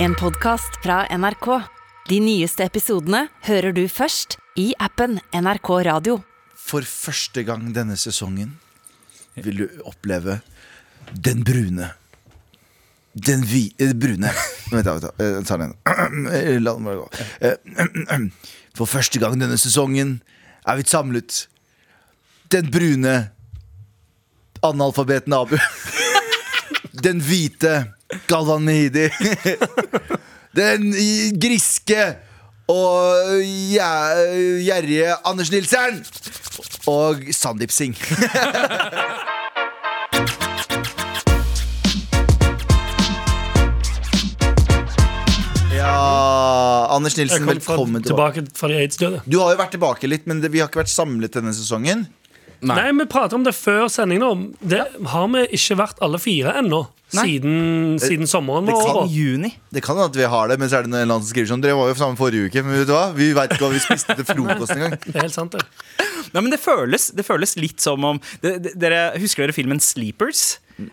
En podcast fra NRK. De nyeste episodene hører du først i appen NRK Radio. For første gang denne sesongen vil du oppleve den brune. Den vi... eh, brune. Vent, da. vent da. Eh, Ta den igjen. La den bare gå. Eh, For første gang denne sesongen er vi samlet. Den brune analfabeten Abu. Den hvite Galvan Mehidi. Den griske og gjer- gjerrige Anders Nilsen. Og Sandeep Singh. Ja Anders Nilsen, Jeg kom velkommen fra, tilbake. tilbake fra de aids-døde. Du har jo vært tilbake litt, men det, vi har ikke vært samlet denne sesongen. Nei. vi prater om det før sendingen. Om. Det har vi ikke vært alle fire ennå. Nei. Siden, siden sommeren var sant? I over. juni. Det kan hende at vi har det, men så er det en eller annen som skriver sånn Dere var jo sammen forrige uke, men vet du hva? Vi veit ikke hva vi spiste til frokost engang. Det er helt sant, det. Nei, men det føles, det føles litt som om det, det, Dere Husker dere filmen Sleepers?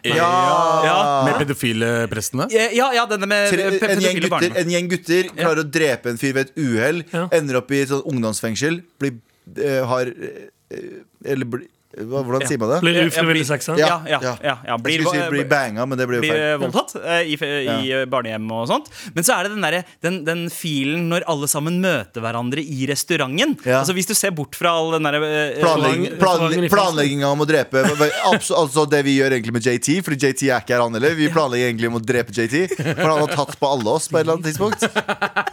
Ja. Med pedofile prestene? Eh, Ja, ja denne med Tre, pe- en, gjeng pedofile gutter, barn. en gjeng gutter klarer å drepe en fyr ved et uhell, Ja. ender opp i et sånt ungdomsfengsel, blir eh, har eh, Eller blir hva- Hvordan sier man det? Blir Ja, ufrivillig blir- sexa. Ja, ja, ja, ja. Jeg skulle si Blir- blir banga, men det blir jo Blir feil. eh, voldtatt eh, i, fe- i eh, barnehjem og sånt. Men så er det den, derre- den, den filen når alle sammen møter hverandre i restauranten. Ja. Altså Hvis du ser bort fra all den derre Planlegging, eh, Restauranten- restauranten planle- i planlegginga om å drepe abso- Altså det vi gjør egentlig med JT, Fordi JT er ikke her, han heller. Vi planlegger egentlig om å drepe JT, for han har tatt på alle oss på et eller annet tidspunkt.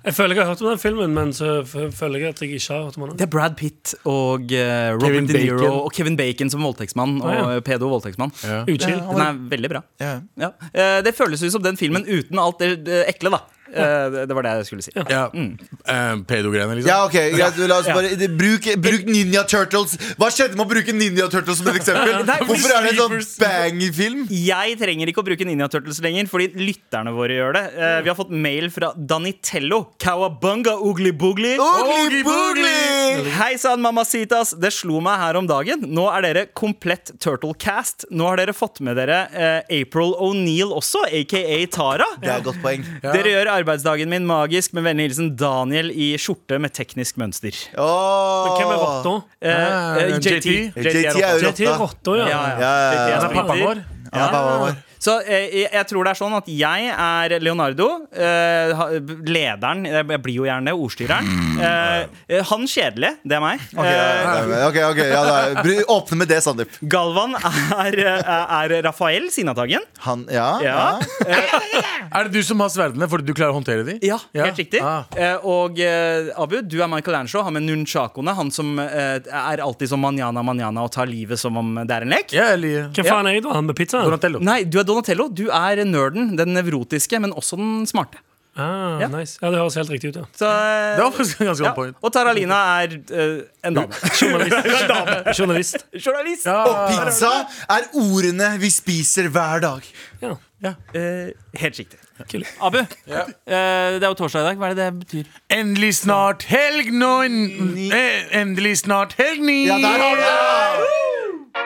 Jeg føler jeg har hørt om den filmen, men så f- føler jeg at jeg ikke har hørt om den. Det er Brad Pitt og eh, Robin Kevin De Niro Bacon. og Kevin Bacon som voldtektsmann. Og Ah, ja. eh, pedo-voldtektsmann. Ja. Utskilt. Den er veldig bra. Ja. Ja. eh, Det føles ut som den filmen uten alt det det ekle, da. Eh, Det det var det jeg skulle si. Ja. Mm. Eh, Pedogreiene, liksom? Ja, ok, greit, la oss Ja. bare det- Bruk, bruk Ninja Turtles Hva skjedde med å bruke Ninja Turtles som et eksempel? Nei, fordi Hvorfor er det en sånn Sleepers- bang-film? Jeg trenger ikke å bruke Ninja Turtles lenger, fordi lytterne våre gjør det. Eh, Vi har fått mail fra Danitello. Cowabunga oogly boogly. Oogly boogly! Hei sann, mamacitas. Det slo meg her om dagen. Nå er dere komplett Turtlecast. Nå har dere fått med dere eh, April O'Neill også, aka Tara. Det er et godt poeng Dere gjør arbeidsdagen min magisk med vennlig hilsen Daniel i skjorte med teknisk mønster. Åh. Hvem er rotta? Eh, Ah, eh, JT. JT. JT er jo Det er til rotta rotta, ja. Ja, ja. Ja, ja, ja. JT Han er er pappaen sprinter. vår. ja, pappa, mamma. Så eh, jeg, jeg tror det er sånn at jeg er Leonardo, eh, ha- lederen Jeg blir jo gjerne det, ordstyreren. Eh, eh, han kjedelige, det er meg. Ok, Eh, ja, ja, ok, ok, ja, da, bry- Åpne med det, Sandeep Galvan er, eh, er, er Rafael Signatagen. Han, ja, ja. Ja. Er det du som har sverdene fordi du klarer å håndtere de? Ja, helt riktig. Ah. Eh, og eh, Abu, du er Michael Angelo, han med nunchakoene. Han som eh, er alltid som manjana manjana og tar livet som om det er en lek. Ja, eller Hvem faen er jeg da? Han med pizzaen? Donatello. Nei, du er Donatello. Du er nerden. Den nevrotiske, men også den smarte. Ah, Ja. nice. Ja, det høres helt riktig ut, ja. Så, eh, Det var faktisk ganske ja. on point. Og Taralina er eh, en dame. Journalist. Journalist. Journalist. Ja. Og pizza er ordene vi spiser hver dag Ja. Eh, helt riktig. Kul. Abu, eh, det er jo torsdag i dag. Hva er det det betyr? Endelig snart helg nå en- eh, Endelig snart helg ni Ja, der har du det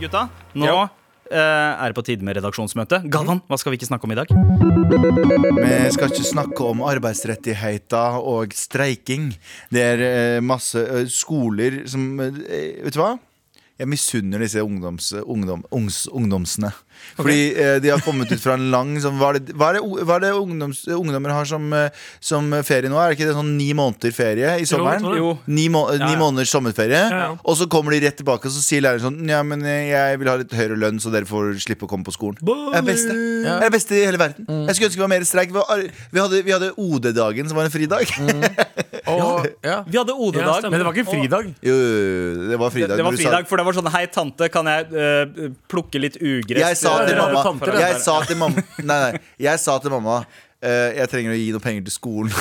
Gutta, nå Ja. eh, er det på tide med redaksjonsmøte. Galvan, hva skal vi ikke snakke om i dag? Vi skal ikke snakke om arbeidsrettigheter og streiking. Det er eh, masse eh, skoler som eh, Vet du hva? Jeg misunner disse ungdoms, ungdom, ungs, ungdomsene. Fordi eh, de har kommet ut fra en lang sånn, Hva er det, hva er det, hva er det ungdoms, ungdommer har som, eh, som ferie nå? Er det ikke det sånn ni måneder ferie i sommeren? tror det. Jo. Ni, må, eh, Ja, ni ja. måneders sommerferie. Ja, ja. Og så kommer de rett tilbake og så sier læreren sånn Ja, men eh, jeg vil ha litt høyere lønn, så dere får slippe å komme på skolen. Det er det beste. Det er det beste i hele verden. Jeg skulle ønske vi var mer streik. Vi, var, vi hadde, vi hadde OD-dagen, som var en fridag. Og, ja. Vi Ja, hadde OD-dag. stemmer. Men det var ikke en fridag. Jo, jo, jo, det var det, fridag. det var når du sa- fridag, for det var sånn Hei, tante, kan jeg eh, plukke litt ugress? Jeg sa til eh, mamma tanter, det Jeg sa til mamma Nei, nei. Jeg sa til mamma eh, eh, jeg trenger å gi noe penger til skolen.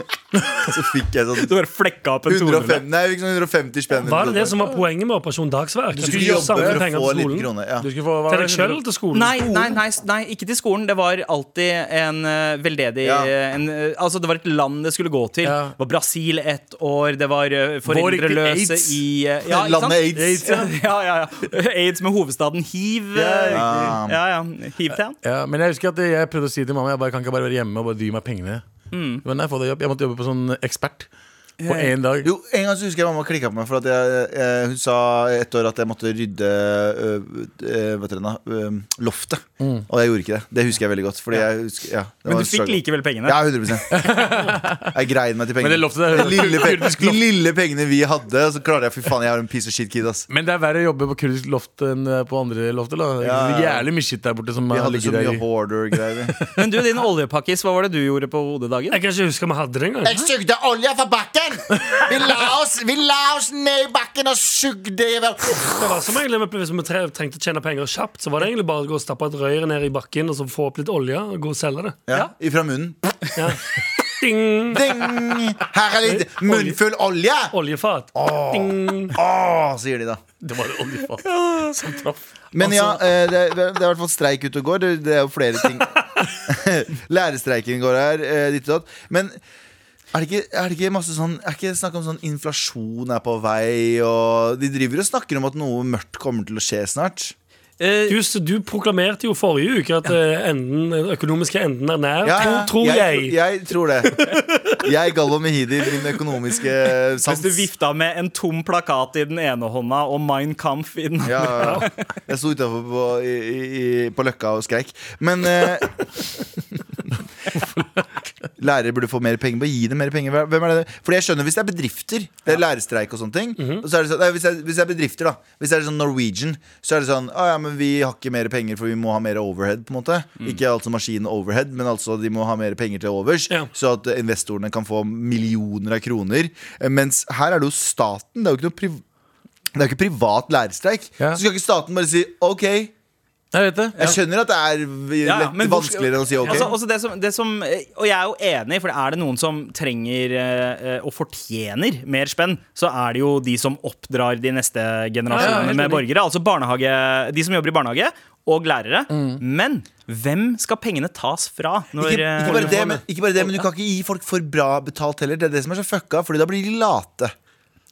så fikk jeg sånn Du bare flekka opp en 150, 200. nei, liksom 150 spenn. Var det det som var poenget med Operasjon Dagsverk? Du At skulle gir jobbe samme for å penger få til litt skolen? kroner. Ja. Du skulle få hva Til var deg det? selv eller til skolen? Nei, nei, nei, nei, ikke til skolen. Det var alltid en eh, veldedig Ja. eh, en, eh, Altså, det var et land det skulle gå til. Ja. Det var Brasil ett år, det var eh, foreldreløse AIDS. i eh, ja, ikke sant? Landet aids. ja, ja, ja. Aids med hovedstaden hiv. eh, Ja. Ja, ja. Hivtown. Ja, men jeg husker at jeg prøvde å si til mamma Jeg bare kan ikke bare være hjemme og bare gi meg pengene Mm. Men nei, få deg jobb Jeg måtte jobbe på sånn ekspert På en dag Jo, En gang så husker jeg mamma klikka på meg for at jeg, eh, hun sa et år at jeg måtte rydde øh, øh, vet dere, nå, øh, loftet. Mm. Og jeg gjorde ikke det. Det husker jeg veldig godt. Fordi jeg husker, ja, det var Men en du fikk struggle. likevel pengene. Ja, 100 Jeg greide meg til pengene. Men det loftet der- de, lille pengene, de lille pengene vi hadde, så klarer jeg Fy faen, jeg er en piece of shit kid, ass. Men det er verre å jobbe på kurdisk loft enn eh, på andre lofter da Det Ja, er ja. Jævlig mye shit der borte som Vi har hadde så ligget mye der i hoarder-greier. vi. Men du, din oljepakkis, hva var det du gjorde på hodedagen? Jeg kan ikke huske om vi hadde det engang. Jeg sugde olje fra bakken! Vi la oss, vi la oss ned i bakken og sugde i vel Det var som egentlig med- Hvis vi tre- trengte å tjene penger kjapt, så var det egentlig bare å gå og stappe et rør ned i bakken og så få opp litt olje og gå og selge det. Ja, Ifra munnen. Ding! Ding! Her er litt munnfull olje! Oljefat. Ding! Åh, sier de da. Det var det oljefat som traff Men ja, eh, det er, det er i hvert fall streik ute og går. Det, det er jo flere ting. Lærerstreiken går her. eh, Ditt og datt. Men er det, ikke, er det ikke masse sånn Er ikke snakk om sånn inflasjon er på vei, og De driver og snakker om at noe mørkt kommer til å skje snart. Eh, Du, så du proklamerte jo forrige uke at eh, enden, den økonomiske enden er nær. Ja, ja, Tror, tror jeg. Jeg tror det. Jeg, Galvo Mehidi, min økonomiske Hvis sans. du vifta med en tom plakat i den ene hånda og Mein Kampf i den andre. Ja, ja, ja. Jeg sto utafor på, i- i- i- på Løkka og skreik. Men eh, Lærere burde få mer penger. Bare gi dem mer penger. Hvem er det? Fordi jeg skjønner Hvis det er bedrifter, det er lærerstreik og sånne ting og så er det sånn, nei, hvis, det er, hvis det er bedrifter, da Hvis det er sånn Norwegian, så er det sånn Å ja, men vi har ikke mer penger, for vi må ha mer overhead, på en måte. Ikke altså maskin overhead, men altså de må ha mer penger til overs, Ja. så at investorene kan få millioner av kroner. Eh, Mens her er det jo staten. Det er jo ikke noe priv det er jo ikke privat lærerstreik. Ja. Så skal ikke staten bare si OK. Jeg Jeg vet det skjønner at det er v- Ja, ja, lett, men hvor- vanskeligere enn å si OK. Altså, også det som, det som, eh, og jeg er jo enig, for er det noen som trenger eh, eh, og fortjener mer spenn, så er det jo de som oppdrar de neste generasjonene Ja, ja, helt med enig. borgere. Altså barnehage, de som jobber i barnehage, og lærere. Men hvem skal pengene tas fra? Når, ikke, ikke, bare eh, det, men, ikke bare det, men du kan ikke gi folk for bra betalt heller. Det er det som er så fucka, Fordi da blir de late.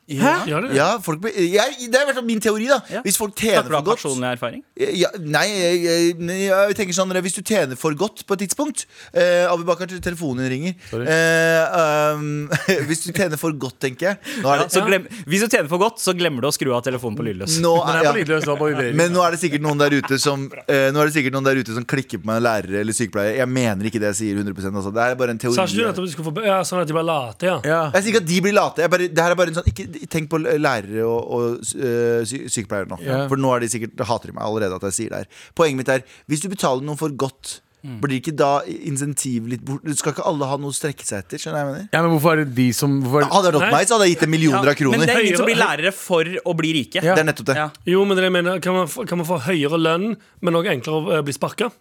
Gjør det det? Ja, folk blir, jeg, det er i hvert fall min teori, da. Mm. Ja. Hvis folk Snakker tjener du for av godt Eh, personlig erfaring? ja, Nei, jeg, jeg, nei, jeg tenker sånn Hvis du tjener for godt på et tidspunkt eh, Abubakar, telefonen din ringer. Eh, um, hvis du tjener for godt, tenker jeg. Nå er Ja, det, så glem, hvis du tjener for godt, så glemmer du å skru av telefonen på lydløs. nå Den er, er på ja. lydløs, den er på vibrering. Men nå er det sikkert noen der ute som eh, Nå er det sikkert noen der ute som klikker på meg lærere eller sykepleiere. Jeg mener ikke det jeg sier 100 altså. Det er bare en teori. Sa ikke du at du skulle få ja, Sånn at de bare late, ja. ja. Jeg sier ikke at de blir late. Jeg bare, det her er bare en sånn, ikke, tenk på lærere og, og eh, sy sykepleiere nå. Ja. For nå er de sikkert, da hater de meg allerede at jeg sier det her. Poenget mitt er hvis du betaler noen for godt, blir ikke da insentiv litt bort? Skal ikke alle ha noe å strekke seg etter? Skjønner du hva jeg mener? ja, men hvorfor er det de som hvorfor er det, Hadde jeg Nei. nådd meg, så hadde jeg gitt dem millioner av Men kroner. det Det... er ingen som blir lærere for å bli rike. Ja. er nettopp det. Ja. Jo, men det jeg mener, kan man, få- kan man få høyere lønn, men òg enklere å eh, bli sparka?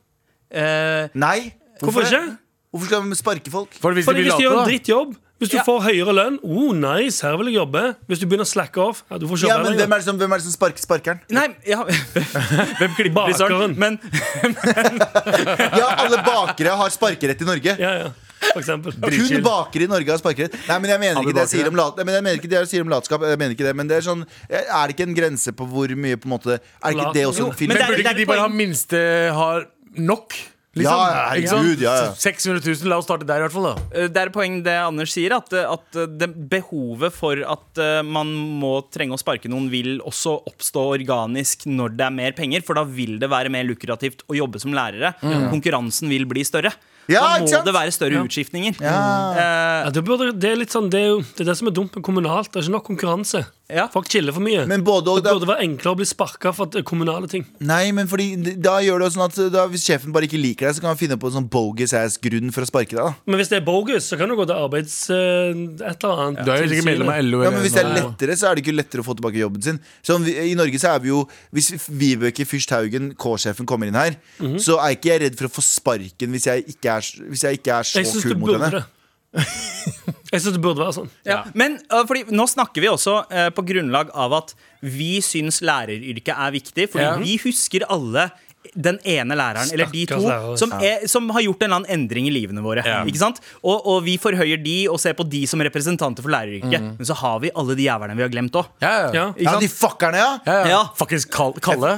Eh, Nei. Hvorfor det? ikke? Hvorfor skal vi sparke folk? For hvis de Fordi blir hvis de gjør en late da drittjobb Hvis du Ja. får høyere lønn Oh, nice, her vil jeg jobbe Hvis du begynner å slacke off ja, Du får ikke Ja, jobbe men hvem er det som, hvem er det som sparker sparkeren? Nei, ja Hvem klipper i sånn? Bakeren. Men Ja, alle bakere har sparkerett i Norge. Ja, ja, for eksempel Kun bakere i Norge har sparkerett. Nei, men jeg mener ikke det jeg sier om, lat, Nei, men jeg mener ikke det jeg sier om latskap. Jeg mener ikke det, men det er sånn Er det ikke en grense på hvor mye på en måte Er ikke det også Jo, en film? men det er- Burde ikke de bare ha minste Har nok liksom? Ja, Ikke sant? herregud, ja, ja. 600 000, la oss starte der i hvert fall da Eh, Det er et poeng det Anders sier, at, eh, at eh, det behovet for at eh, man må trenge å sparke noen, vil også oppstå organisk når det er mer penger, for da vil det være mer lukrativt å jobbe som lærere. Konkurransen vil bli større. Mm. Ja, da ikke må sant? det være større utskiftninger. Ja. Eh, ja, det, burde, det er litt sånn Det er jo det, er det som er dumt med kommunalt Det er ikke nok konkurranse Ja. Folk chiller for mye. Men både og det da, burde være enklere å bli sparka for at- kommunale ting. Nei, men fordi da gjør det jo sånn at da, Hvis sjefen bare ikke liker deg, så kan han finne på en sånn bogus ass grunn for å sparke deg. da Men hvis det er bogus, så kan du gå til arbeids... eh, et eller annet. Du er jo tilsynet. sikkert medlem av Ja, LO. eller men Hvis det er noe. lettere, så er det ikke lettere å få tilbake jobben sin. Så om vi, I Norge så er vi jo Hvis Vibeke Fyrst Haugen, K-sjefen, kommer inn her, så er ikke jeg redd for å få sparken hvis jeg ikke er, hvis jeg ikke er så Jeg syns kul det mot burde henne. det. Jeg syns det burde være sånn. Ja. Men øh, fordi nå snakker vi også øh, på grunnlag av at vi syns læreryrket er viktig, fordi Ja. vi husker alle den ene læreren, eller de Stakkars to, lærer. som, er, som har gjort en eller annen endring i livene våre. Ja. Ikke sant? Og, og vi forhøyer de og ser på de som representanter for læreryrket. Men så har vi alle de jævlene vi har glemt òg. Mm. Ja, ja. Ja. Ja, de fuckerne, ja! ja, ja. Ja. Fuckings Kal- Kalle.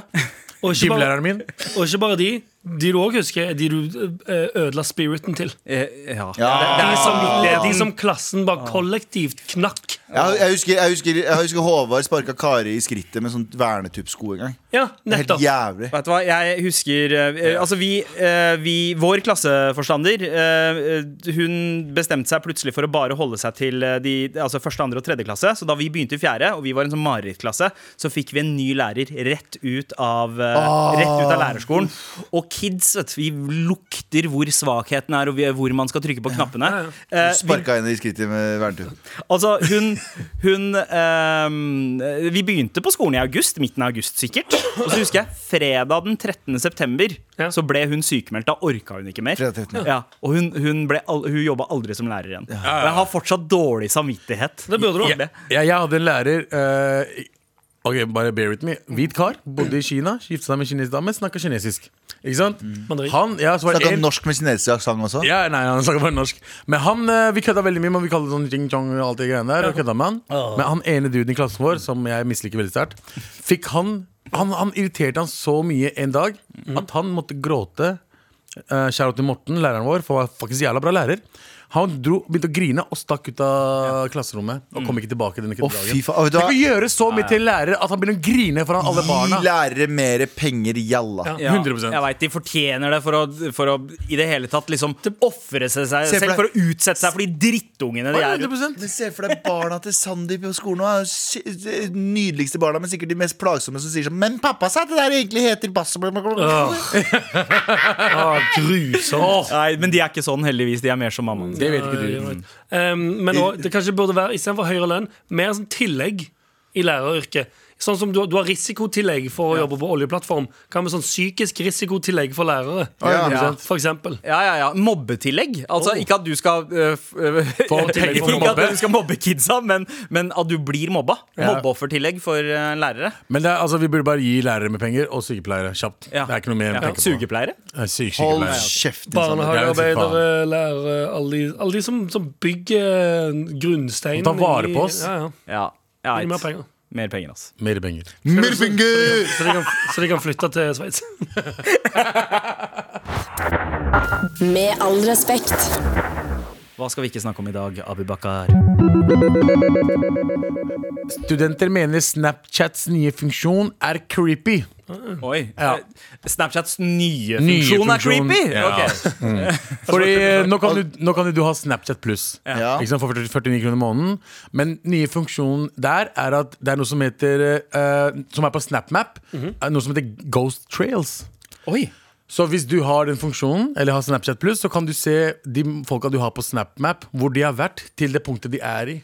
Og, ikke bare, Gymlæreren min. og ikke bare de. De du òg husker, er de du eh, ødela spiriten til. Eh, ja. De som, de som klassen bare kollektivt knakk. Jeg, jeg, husker, jeg, husker, jeg husker Håvard sparka Kari i skrittet med sånn vernetuppsko en gang. Ja, Det er nettopp. Helt jævlig. Vet du hva, jeg husker eh, eh, Altså vi, eh, vi Vår klasseforstander eh, eh, Hun bestemte seg plutselig for å bare holde seg til eh, de, Altså første, andre og tredje klasse Så da vi begynte i fjerde Og vi var en sånn marerittklasse Så fikk vi en ny lærer rett ut av eh, Rett ut av lærerskolen Og kids, vet du, vi lukter hvor svakheten er Og vi, hvor man skal trykke på knappene Eh, vi Sparka henne i skrittet med vernetupp. Altså, hun, hun ehm, Vi begynte på skolen i august, midten av august sikkert. Og så husker jeg fredag den 13. september Ja. så ble hun sykemeldt. Da orka hun ikke mer. Fredag 13., Ja, og hun, hun, ble al hun jobba aldri som lærer igjen. Og jeg har fortsatt dårlig samvittighet. Det burde du ha. Ja. Ja, jeg hadde en lærer eh, Ok, bare bear with me Hvit kar, bodde i Kina, gifte seg med en kinesisk dame, snakket kinesisk. Ikke sant? Mandarin. Han, ja, så var det Snakka en- norsk med kinesisk aksent også. Ja, nei, han snakket bare norsk. Men han, eh, vi kødda veldig mye, men vi kalte det sånn ching chong og alt det greiene der. Og kødda med han. Men han ene duden i klassen vår, som jeg misliker veldig sterkt, fikk han, han Han irriterte han så mye en dag at han måtte gråte. Uh, Kjære til Morten, læreren vår, for han var faktisk jævla bra lærer. Han dro, begynte å grine og stakk ut av klasserommet. Og kom ikke tilbake denne Å, dagen. fy faen. Vet du Tenk å hva? gjøre så mye til en lærer at han begynner å grine foran alle Gi barna. lærere mer penger, jalla. Ja. Ja, 100%. Jeg veit de fortjener det for å, for å i det hele tatt liksom ofre seg seg Se for selv deg- for å utsette seg for de drittungene de er. 100%. Men Se for deg barna til Sandeep på skolen. nå er jo sy- de Nydeligste barna, men sikkert de mest plagsomme som sier sånn Men pappa sa at det der egentlig heter bass Grusomt. Nei, men de er ikke sånn, heldigvis. De er mer som mammaen. Det vet ikke du. Um, men også, det kanskje burde være istedenfor høyere lønn, mer sånn tillegg i læreryrket. Sånn som du, du har risikotillegg for å jobbe på oljeplattform. Hva med sånn psykisk risikotillegg for lærere? Ja. For eksempel. Ja, ja, ja. Mobbetillegg. Altså ikke at du skal øh, f- øh, Oh. tillegg Ikke for å at mobbe. du skal mobbe kidsa, men, men at du blir mobba. Ja. Mobbeoffertillegg for øh, lærere. Men det er, altså, vi burde bare gi lærere med penger og sykepleiere kjapt. Ja. Det er ikke noe mer å tenke på. Sugepleiere. Nei, syk- Hold sykepleiere. kjeft. din, sånn- Sandeep. Barnehagearbeidere, lærere, alle de, alle de som, som bygger grunnsteinen. Ta vare i- på oss. Ja, ja. Ja. ja Gi et- mer penger. Mer penger, altså. Mer penger. Mer penger! Så de kan, så de kan flytte til Sveits. Med all respekt. Hva skal vi ikke snakke om i dag, Abubakar? Studenter mener Snapchats nye funksjon er creepy. Oi. Ja. eh, Snapchats nye, Nye funksjon er funksjon. creepy! Ja. Mm. Ok. Fordi eh, nå kan du, nå kan du ha Snapchat pluss Ja. ikke sant, for 40 49 kroner i måneden. Men nye funksjonen der er at det er noe som heter eh, Som er på SnapMap. er Noe som heter Ghost Trails. Oi. Så hvis du har den funksjonen, eller har Snapchat pluss, så kan du se de folka du har på SnapMap, hvor de har vært, til det punktet de er i.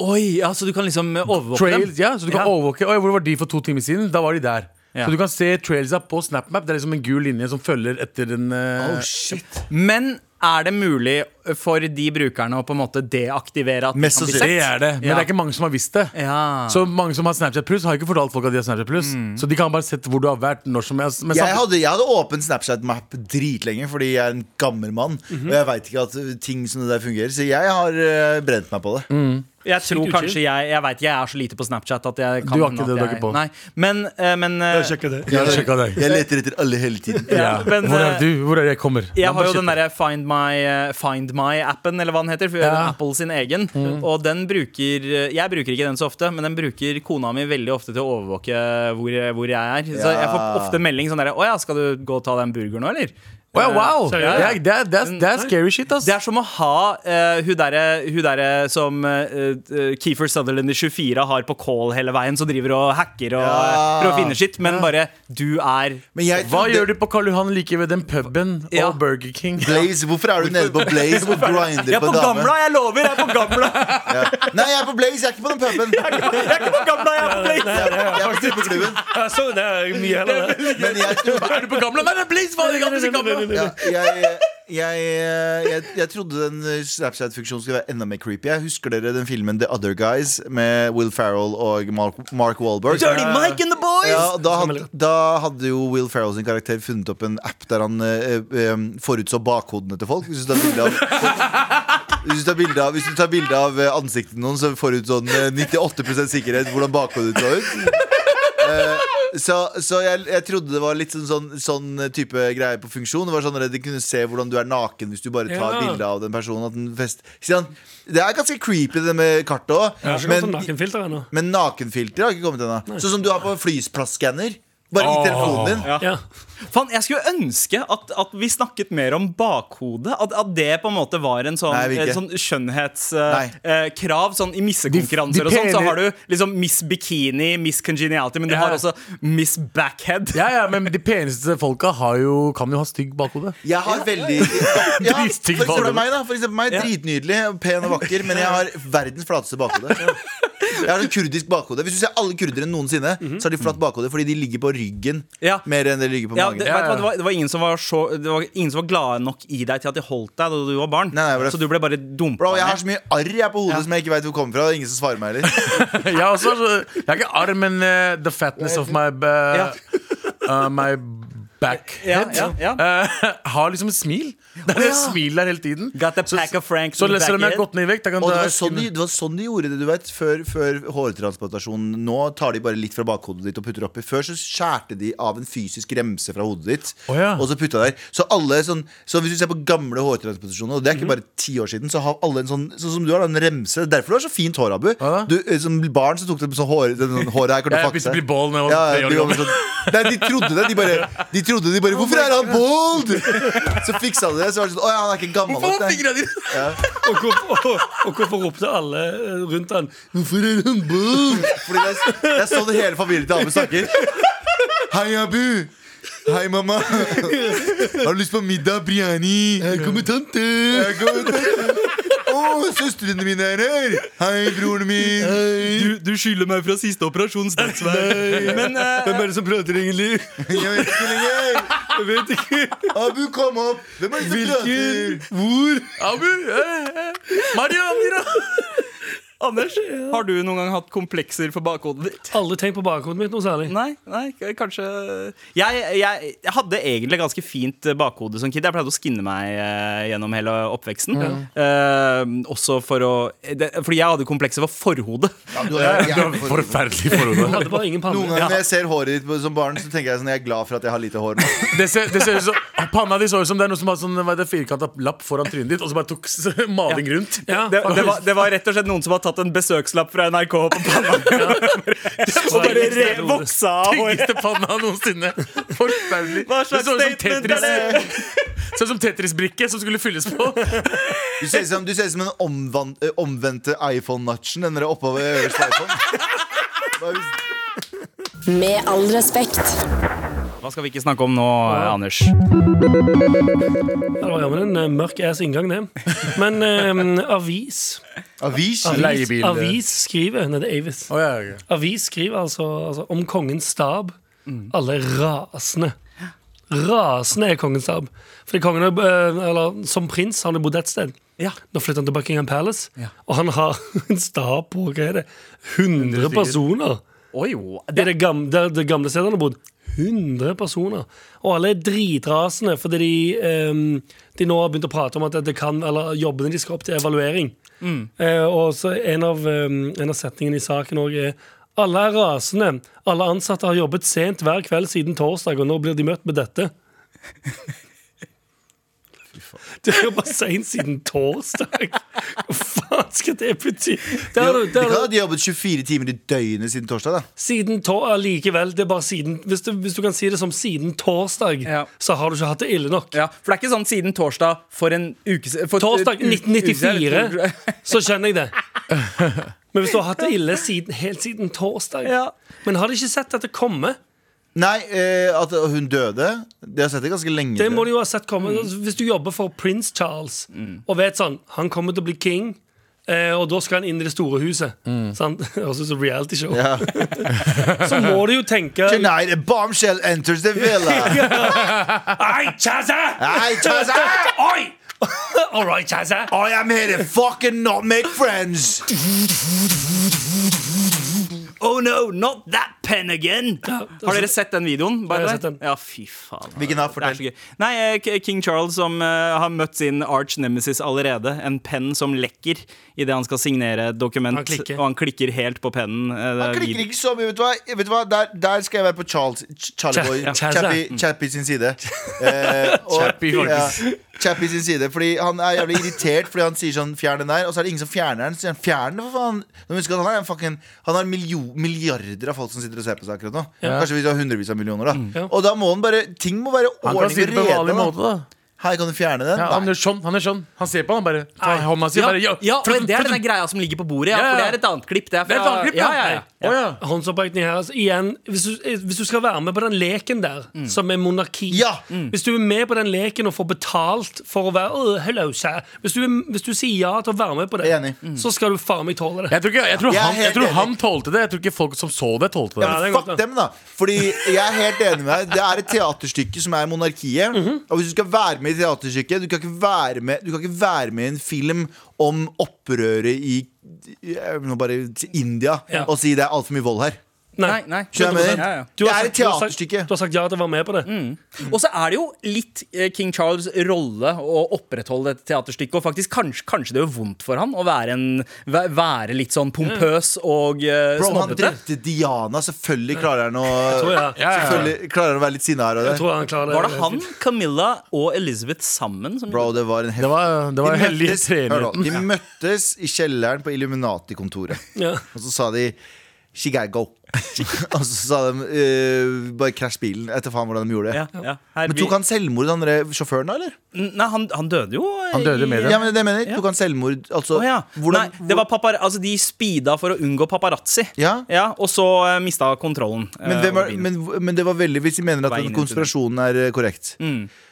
Oi, ja, Så du kan liksom eh, overvåke Trails, dem? ja, så du kan Ja. overvåke Oi, Hvor var de for to timer siden? Da var de der. Ja. Så du kan se trailsa på SnapMap. Det er liksom en gul linje som følger etter den eh, Oh, Oh, Men er det mulig for de brukerne å på en måte deaktivere at de Mest kan bli sannsynlig. sett? Det er det, men Ja. det er ikke mange som har visst det. Ja. Mm. Så mange som har Snapchat pluss, har ikke fortalt folk at de har Snapchat pluss. Så de kan bare sett hvor du har vært når som helst. Men Jeg samtidig- hadde, jeg hadde åpen Snapchat-map dritlenge fordi jeg er en gammel mann. Mhm. Og jeg veit ikke at ting som det der fungerer, så jeg har eh, brent meg på det. Mm. Jeg tror Sykt kanskje jeg Jeg vet ikke, jeg er så lite på Snapchat at jeg kan Du har ikke at det, du har jeg- ikke på. Nei, men, eh, men, eh, Jeg hadde sjekket deg. Jeg leter etter alle hele tiden. Ja. Ja, men, hvor eh, er du? Hvor er jeg kommer? jeg har jo den derre Find My-appen, Find My appen, eller hva den heter. For Ja. Mm. Apple sin egen. Og den bruker eh, Jeg bruker ikke den så ofte, men den bruker kona mi veldig ofte til å overvåke hvor, hvor jeg er. Så jeg får Ja. ofte melding sånn derre Å ja, skal du gå og ta den burgeren nå, eller? Wow, wow. Seriøst? Ja, det, er, det, er, det er scary shit, ass. Det er som å ha eh, hun derre hun derre som uh, Keefer Sutherland i 24 har på call hele veien, som driver og hacker og Ja. prøver å finne sitt, men bare du er Men jeg Hva trodde- gjør du på Karl Johan like ved den puben Ja. og Burger King? Blaze, hvorfor er du nede på Blaze og grinder Jeg er på på dame? gamla, jeg lover! Jeg er på gamla! Ja. Nei, jeg er på Blaze, jeg er ikke på den puben. Jeg Jeg er ikke på gamla, jeg er på Blaze! er på klubben. Ja, så det er mye heller det. Men jeg trodde Er du på gamla? Nei, nei, please, faen, jeg kan ikke si gamla. ja, jeg, jeg, jeg, jeg trodde den Snapchat-funksjonen skulle være enda mer creepy. Jeg husker dere den filmen The Other Guys med Will Ferrell og Mark, Mark Wahlberg? Dirty Mike and the Boys! Ja, og da, hadde, da hadde jo Will Ferrell sin karakter funnet opp en app der han eh, eh, forutså bakhodene til folk. Hvis du tar bilde av hvis du tar bilde av, hvis du tar bilde av eh, ansiktet til noen, så forutså han eh, 98 sikkerhet hvordan bakhodet så ut. Eh, Så, så jeg, jeg trodde det var litt sånn, sånn, sånn type greier på funksjon. Det var sånn at De kunne se hvordan du er naken hvis du bare tar Ja. bilde av den personen. At den fest. Ikke sant? Det er ganske creepy, det med kartet òg. Jeg har ikke gått sånn nakenfilter ennå. Men nakenfilter har ikke kommet ennå. Sånn som du har på flyplass-skanner. Bare i telefonen din. Ja. Faen, jeg skulle ønske at, at vi snakket mer om bakhodet. At, at det på en måte var en sånn, Nei, jeg vil ikke. eh, sånn Nei. skjønnhetskrav. Eh, krav, sånn I De- missekonkurranser de og sånn, så pene- har du liksom Miss Bikini, Miss Congeniality, men du Ja. har også Miss Backhead. Ja, ja, men de peneste folka har jo, kan jo ha stygg bakhode. Jeg har veldig ja, For Dritstygg eksempel bakgrunn. meg, da. For eksempel meg Dritnydelig, pen og vakker, men jeg har verdens flateste bakhode. Jeg har en kurdisk bakhode Hvis du ser alle kurdere noensinne, så har de flatt bakhode fordi de ligger på ryggen Mhm. Ja. mer enn de ligger på Ja, magen. det, vet du hva, det, var, det var ingen som var så Det var ingen som var glade nok i deg til at de holdt deg da du var barn. Nei, nei, bare- så du ble bare dumpa. Bro, jeg har ned. så mye arr jeg på hodet som jeg ikke veit hvor kommer fra. og Ingen som svarer meg heller. Jeg har også, altså, jeg har ikke arm, men eh, the fatness of my uh, uh, My ja, backhead ja, ja. eh, har liksom et smil. Det er det smilet der hele tiden. Got the pack of Franks Så in the selv om jeg back har gått ned i vekt, jeg kan Og det ta var sånn de, det var sånn de gjorde det, du vet. Før, før hårtransplantasjon. Nå tar de bare litt fra bakhodet ditt og putter oppi. Før så skjærte de av en fysisk remse fra hodet ditt. Å ja. Og så putta der. Så alle sånn Så hvis du ser på gamle hårtransplantasjoner, og det er Mhm. ikke bare ti år siden, så har alle en sånn Sånn som du har, da, en remse. Derfor du har så fint hår, Abu. da? Du, eh, som barn så tok de sånn hår den, sånn, Håret her kan Jeg du begynte å bli fakte. bald når jeg Ja, var tre ja, år de, var gammel. Oh sånn, nei, de trodde det. De bare, de trodde de bare Hvorfor er han bald?! Så fiksa de det. Så var det sånn Å ja, han er ikke gammel Hvorfor nok. var nei.» fingrene dine Og, hvorfor, og, og hvorfor ropte alle eh, rundt han Hvorfor er han bald? Fordi det er, det er sånn hele familien til Abu snakker. Hei, Abu. Hei, mamma. Har du lyst på middag, Briani? Her kommer tante. Her kommer tante. Å, søstrene mine er her. Hei, broren min. Du, du skylder meg fra siste operasjon, Statsvei. Men eh, Hvem er det som prater egentlig? Jeg vet ikke lenger. Jeg vet ikke. Abu, kom opp. Hvem er det som prater? Hvor? Abu! eh, eh, Mario! Amira. Anders, har du noen gang hatt komplekser for bakhodet ditt? Aldri tenkt på bakhodet mitt noe særlig. Nei, nei, k- kanskje jeg, jeg, jeg hadde egentlig ganske fint eh, bakhode som kid. Jeg pleide å skinne meg eh, gjennom hele oppveksten. Mm. Eh, også for å eh, det, Fordi jeg hadde komplekser for forhodet. Ja, du har Du har jævlig for- forferdelig forhode. Hadde bare ingen Noen panne. ganger når jeg ser håret ditt på- som barn, så tenker jeg sånn, jeg er glad for at jeg har lite hår. nå. Det ser, det ser ut som, panna di så ut som det er noe som har sånn, hva er det, firkanta lapp foran trynet ditt, og så bare tok s- maling rundt. Ja, Det, det, var, det var rett og slett noen som hadde tatt en besøkslapp fra NRK på panna. og bare re- voksa av håret. Tyngste panna noensinne. Forferdelig. Hva slags Det så ut som statement Tetris- er det så ut som Tetris-brikke som skulle fylles på. Du ser ut som, du ser ut som den omvan- eh, omvendte iPhone-nutchen. Den der oppå øverste iPhone. Bare hvis- Med all respekt. Hva skal vi ikke snakke om nå, eh, Anders? Det var jammen en eh, mørk ass inngang, det. Men eh, avis Avis? Avis, Leiebil. avis skriver Nei, det er Avis. Å, ja, ok. Avis skriver altså, altså om kongens stab. Alle er rasende. Rasende er kongens stab. Fordi kongen, har, eh, eller, som prins har han jo bodd et sted. Ja. Nå flytter han til Buckingham Palace, og han har en stab på hva er det, 100 personer. Oi, wow. Det er det gamle, det, er det gamle stedet han har bodd. 100 personer. Og alle er dritrasende fordi de, ehm, de nå har begynt å prate om at det kan, eller jobbene de skal opp til evaluering. Eh, og så en av, ehm, en av setningene i saken òg er alle er rasende. Alle ansatte har jobbet sent hver kveld siden torsdag, og nå blir de møtt med dette. Det er jo bassein siden torsdag. Hva faen skal det bety? Det er, De det kan er, ha jobbet 24 timer i døgnet siden torsdag, da. Siden to- Allikevel, det er bare siden hvis du, hvis du kan si det som siden torsdag, Ja. så har du ikke hatt det ille nok. Ja, for det er ikke sånn siden torsdag for en uke siden for- Torsdag u- u- uke siden. 1994, så skjønner jeg det. Men hvis du har hatt det ille siden, helt siden torsdag Ja. Men har de ikke sett dette komme? Nei, eh, at hun døde Det har jeg sett det ganske lenge Det må de jo ha sett komme Mm. Hvis du jobber for prins Charles og vet sånn Han kommer til å bli king, eh, og da skal han inn i det store huset. Mm. Sant? Også som reality show. Ja. Så må du jo tenke Tonight a bombshell enters the villa Hei, Chazza! Hei, Chazza! Oi! All right, Chazza. I am here to fucking not make friends Oh no, not that pen again! Har dere sett den videoen? by Ja, jeg har the way? sett den. Ja, fy faen. Hvilken da? Det er så Fortell. gøy. Nei, eh, K- King Charles som eh, har møtt sin arch nemesis allerede. En penn som lekker idet han skal signere et dokument. Han klikker. og han klikker helt på pennen. eh, det er Han klikker vid- ikke så mye, vet du hva, vet du hva? Der, der skal jeg være på Charles Ch- Charlie Cha- Boy ja. Chappie, Chappie sin side eh, og, Chappie, faktisk. ja, Chappie sin side Fordi han er jævlig irritert Fordi han sier sånn, fjern den der Og så er det ingen som fjerner den Så sier han, fjern den for faen Nå må vi huske at han er en fucking Han har miljo, milliarder av folk som sitter og ser på seg akkurat nå Kanskje vi har hundrevis av millioner da Ja. Og da må han bare, ting må være Mm. Han ordning og kan si det på en rede, vanlig da. måte, da. Hei, kan du fjerne den? Ja, han Nei. gjør sånn. Han gjør sånn Han ser på han bare tar hånda si. Ja, Bare, ja, ja, og det er denne greia som ligger på bordet. Ja, Ja, ja. for det er et annet klipp. Det er, fra, Det er et annet klipp, ja, ja. ja, ja. Å, ja. Håndsopprekning her. Altså, igjen, hvis du, eh, hvis du skal være med på den leken der, som er monarki Mm. Ja. Mm. Hvis du er med på den leken og får betalt for å være «Åh, hello, sir», hvis, du, er- hvis du sier ja til å være med på det, Jeg er enig. Mm. så skal du faen meg tåle det. Jeg tror, ikke, jeg, tror Jeg er han, jeg helt tror enig. han tålte det. Jeg tror ikke folk som så det, tålte det. Ja, det men er godt, fuck da. dem, da. Fordi jeg er helt enig med deg. Det er et teaterstykke som er monarkiet. Mhm. Og hvis du skal være med i teaterstykket Du kan ikke være med, du kan ikke være med i en film om opprøret i jeg vil nå bare til India Ja. og si det er altfor mye vold her. Nei, nei. Skjønner du hva jeg mener? 100%. Ja, ja. Du Det har er sagt- et du har sagt- teaterstykke. Mm. Du har sagt ja til å være med på det. Og så er det jo litt eh, King Charles' rolle å opprettholde dette teaterstykket. Og faktisk kanskje, kanskje det gjør vondt for han å være, en, væ- være litt sånn pompøs og eh, Mm. Bro, han snobbete. drepte Diana. Selvfølgelig klarer han å tror jeg. Ja, ja, ja. Selvfølgelig klarer han å være litt sinna her og Jeg der. tror han klarer Var det han, Camilla og Elizabeth sammen? Som Bro, det var en Det heftig var, det var de hellig møttes- hør nå, trening. de møttes i kjelleren på Illuminati-kontoret. Ja. Og så sa de Chicago. og så sa de eh, bare krasj bilen. Etter faen hvordan de gjorde det. Ja, ja. Her, Men vi, tok han selvmord, den der sjåføren, da? eller? Nei, han, han døde jo. Han døde med det. Ja, men det mener jeg. Tok han selvmord? Altså, Å ja. hvordan Nei, det var papar altså, de speeda for å unngå paparazzi. Ja. hvor- og så uh, mista kontrollen. eh, men, hvem over er, bilen. men, men det var veldig Hvis de mener at den Veien inn til konspirasjonen er eh, korrekt.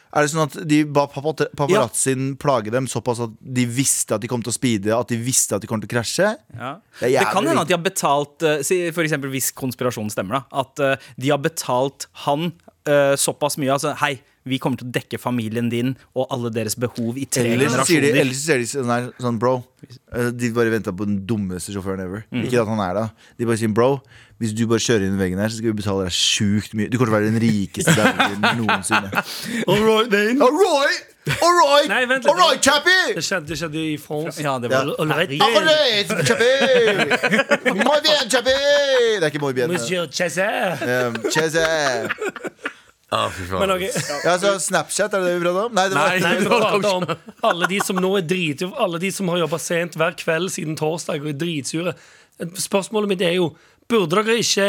Er det sånn at de ba papa- paparazzien plage dem såpass at de visste at de kom til å speede, at de visste at de kom til å krasje? Ja. Det Det, er jævlig kan hende viktig. at de har betalt eh, si For eksempel hvis konspirasjonen stemmer, da. At eh, de har betalt han eh, såpass mye. Altså, hei, vi kommer til å dekke familien din og alle deres behov i tre Eller så sier de, generasjoner. eller så sier de sånn, her, sånn Bro, eh, de bare venter på den dummeste sjåføren ever. Mm. Ikke at han er det. De bare sier bro, hvis du bare kjører inn i veggen her, så skal vi betale deg sjukt mye. Du kommer til å være den rikeste dauen noensinne. All right! All right! Nei, vent litt. All right, Det chappie! skjedde, det skjedde i France. Ja, det var Ja. Allerede. All right, chappie! Moi bien, chappie! Det er ikke moi bien. det. Monsieur Chazelle. Um, chese. Men ok ja, så Snapchat, er det det vi prater om? Nei, det var Nei. Nei, vi prater om alle de som nå er drit, Alle de som har jobba sent hver kveld siden torsdag og er dritsure. Spørsmålet mitt er jo Burde dere ikke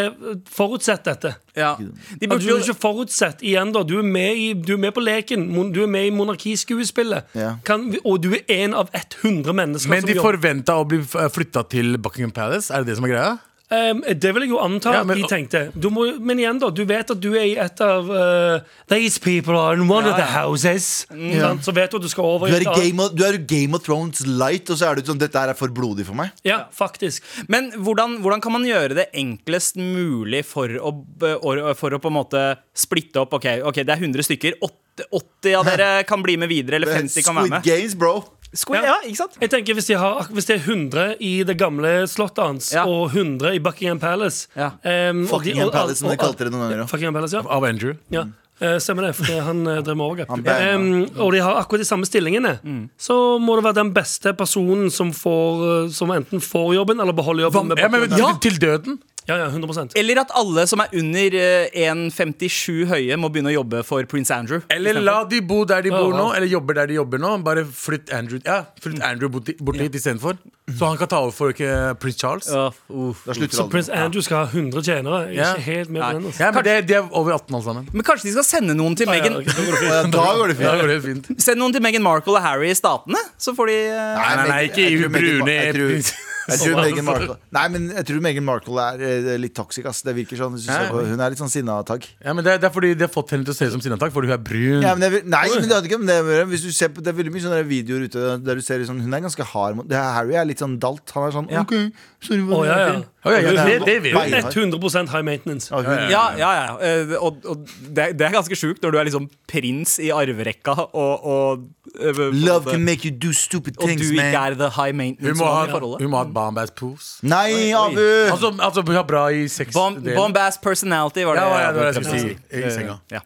forutsett dette? Ja. De At burde du jo er ikke forutsett igjen da Du er med i, du er med på leken, mon- du er med i monarkiskuespillet. Ja. Kan, vi- og du er én av 100 mennesker Men som de jobber. forventa å bli flytta til Buckingham Palace? Er det det som er greia? Ehm, det vil jeg jo anta Ja, at men- de tenkte. Du må, jo- men igjen, da. Du vet at du er i et av eh, These people are in one of the houses. Sant? Så vet du at du skal over Du i er, et i annet- Game of, du er i Game of Thrones light, og så er du sånn Dette her er for blodig for meg. Ja, faktisk. Men hvordan, hvordan kan man gjøre det enklest mulig for å, b- or- for å på en måte splitte opp? Ok, ok, det er 100 stykker. 80, 80 av dere kan bli med videre, eller 50 kan være Eh, Squid med. Games, bro. Squid, ja, ikke sant? Jeg tenker Hvis de har, hvis det er 100 i det gamle slottet hans Ja. og 100 i Buckingham Palace Ja. ehm, og de- Fucking og- Palace, som de og- kalte det noen ganger. også. Fuckingham Palace, ja. Av Andrew? ja. Eh, stemmer det, for det- han eh, drev med overgrep. Han banger. Ehm, og de har akkurat de samme stillingene. Mm. Så må det være den beste personen som, får, eh, som enten får jobben eller beholder jobben. med Ja, men Buckingham Palace. til, til døden? Ja, ja, 100 Eller at alle som er under eh, 1,57 høye, må begynne å jobbe for prins Andrew. Eller la de bo der de bor Ja, Mm. ja. nå, eller jobber der de jobber nå. Bare flytt Andrew, ja, flytt Andrew bort, bort hit istedenfor. Så han kan ta over for ikke prins Charles. Ja, uff. Da slutter Så alle. prins Andrew skal ha 100 tjenere? Jeg Ja. er ikke helt med på den. Altså. Ja, men det, de er over 18 alle sammen. Men kanskje de skal sende noen til Ja, ja, Meghan ok, da går det Ja, fint. Da går det Ja, det fint. går helt fint. Send noen til Meghan Markle og Harry i Statene, så får de eh, Nei, nei, nei, Meghan- ikke jeg i tror Meghan- brune jeg tror- prins- Jeg tror Meghan Markle Nei, men jeg tror Meghan Markle er eh, litt toxic, ass. Det virker sånn. hvis du Hæ? ser på- Hun er litt sånn sinna tagg. Ja, men det, er- det er fordi de har fått henne til å se ut som Sinnatak, fordi hun er brun. Ja, men jeg, vil- nei, men det hadde ikke med det å gjøre. Hvis du ser på, det er veldig mye sånne videoer ute der du ser sånn Hun er ganske hard mot det her, Harry er litt sånn dalt. Han er sånn OK, sorry. Å, hva ja, ja. det er til». Å, ja, ja, det, det vil jeg. Nei. 100 high maintenance. Ja, hun, Ja, ja, ja. Eh, Og, og det, er, det er ganske sjukt når du er liksom prins i arverekka og, og eh, på en Love måte- can make you do stupid og things, du ikke man. er the high Hun maintenance må ha, man i forholdet. hun må ha et bombass pose. Nei, Oi, oi. Abu! Altså, altså hun er bra i sex. Bom, delen. bombast personality var Ja, det. ja, det var det jeg skulle si. I senga. Ja.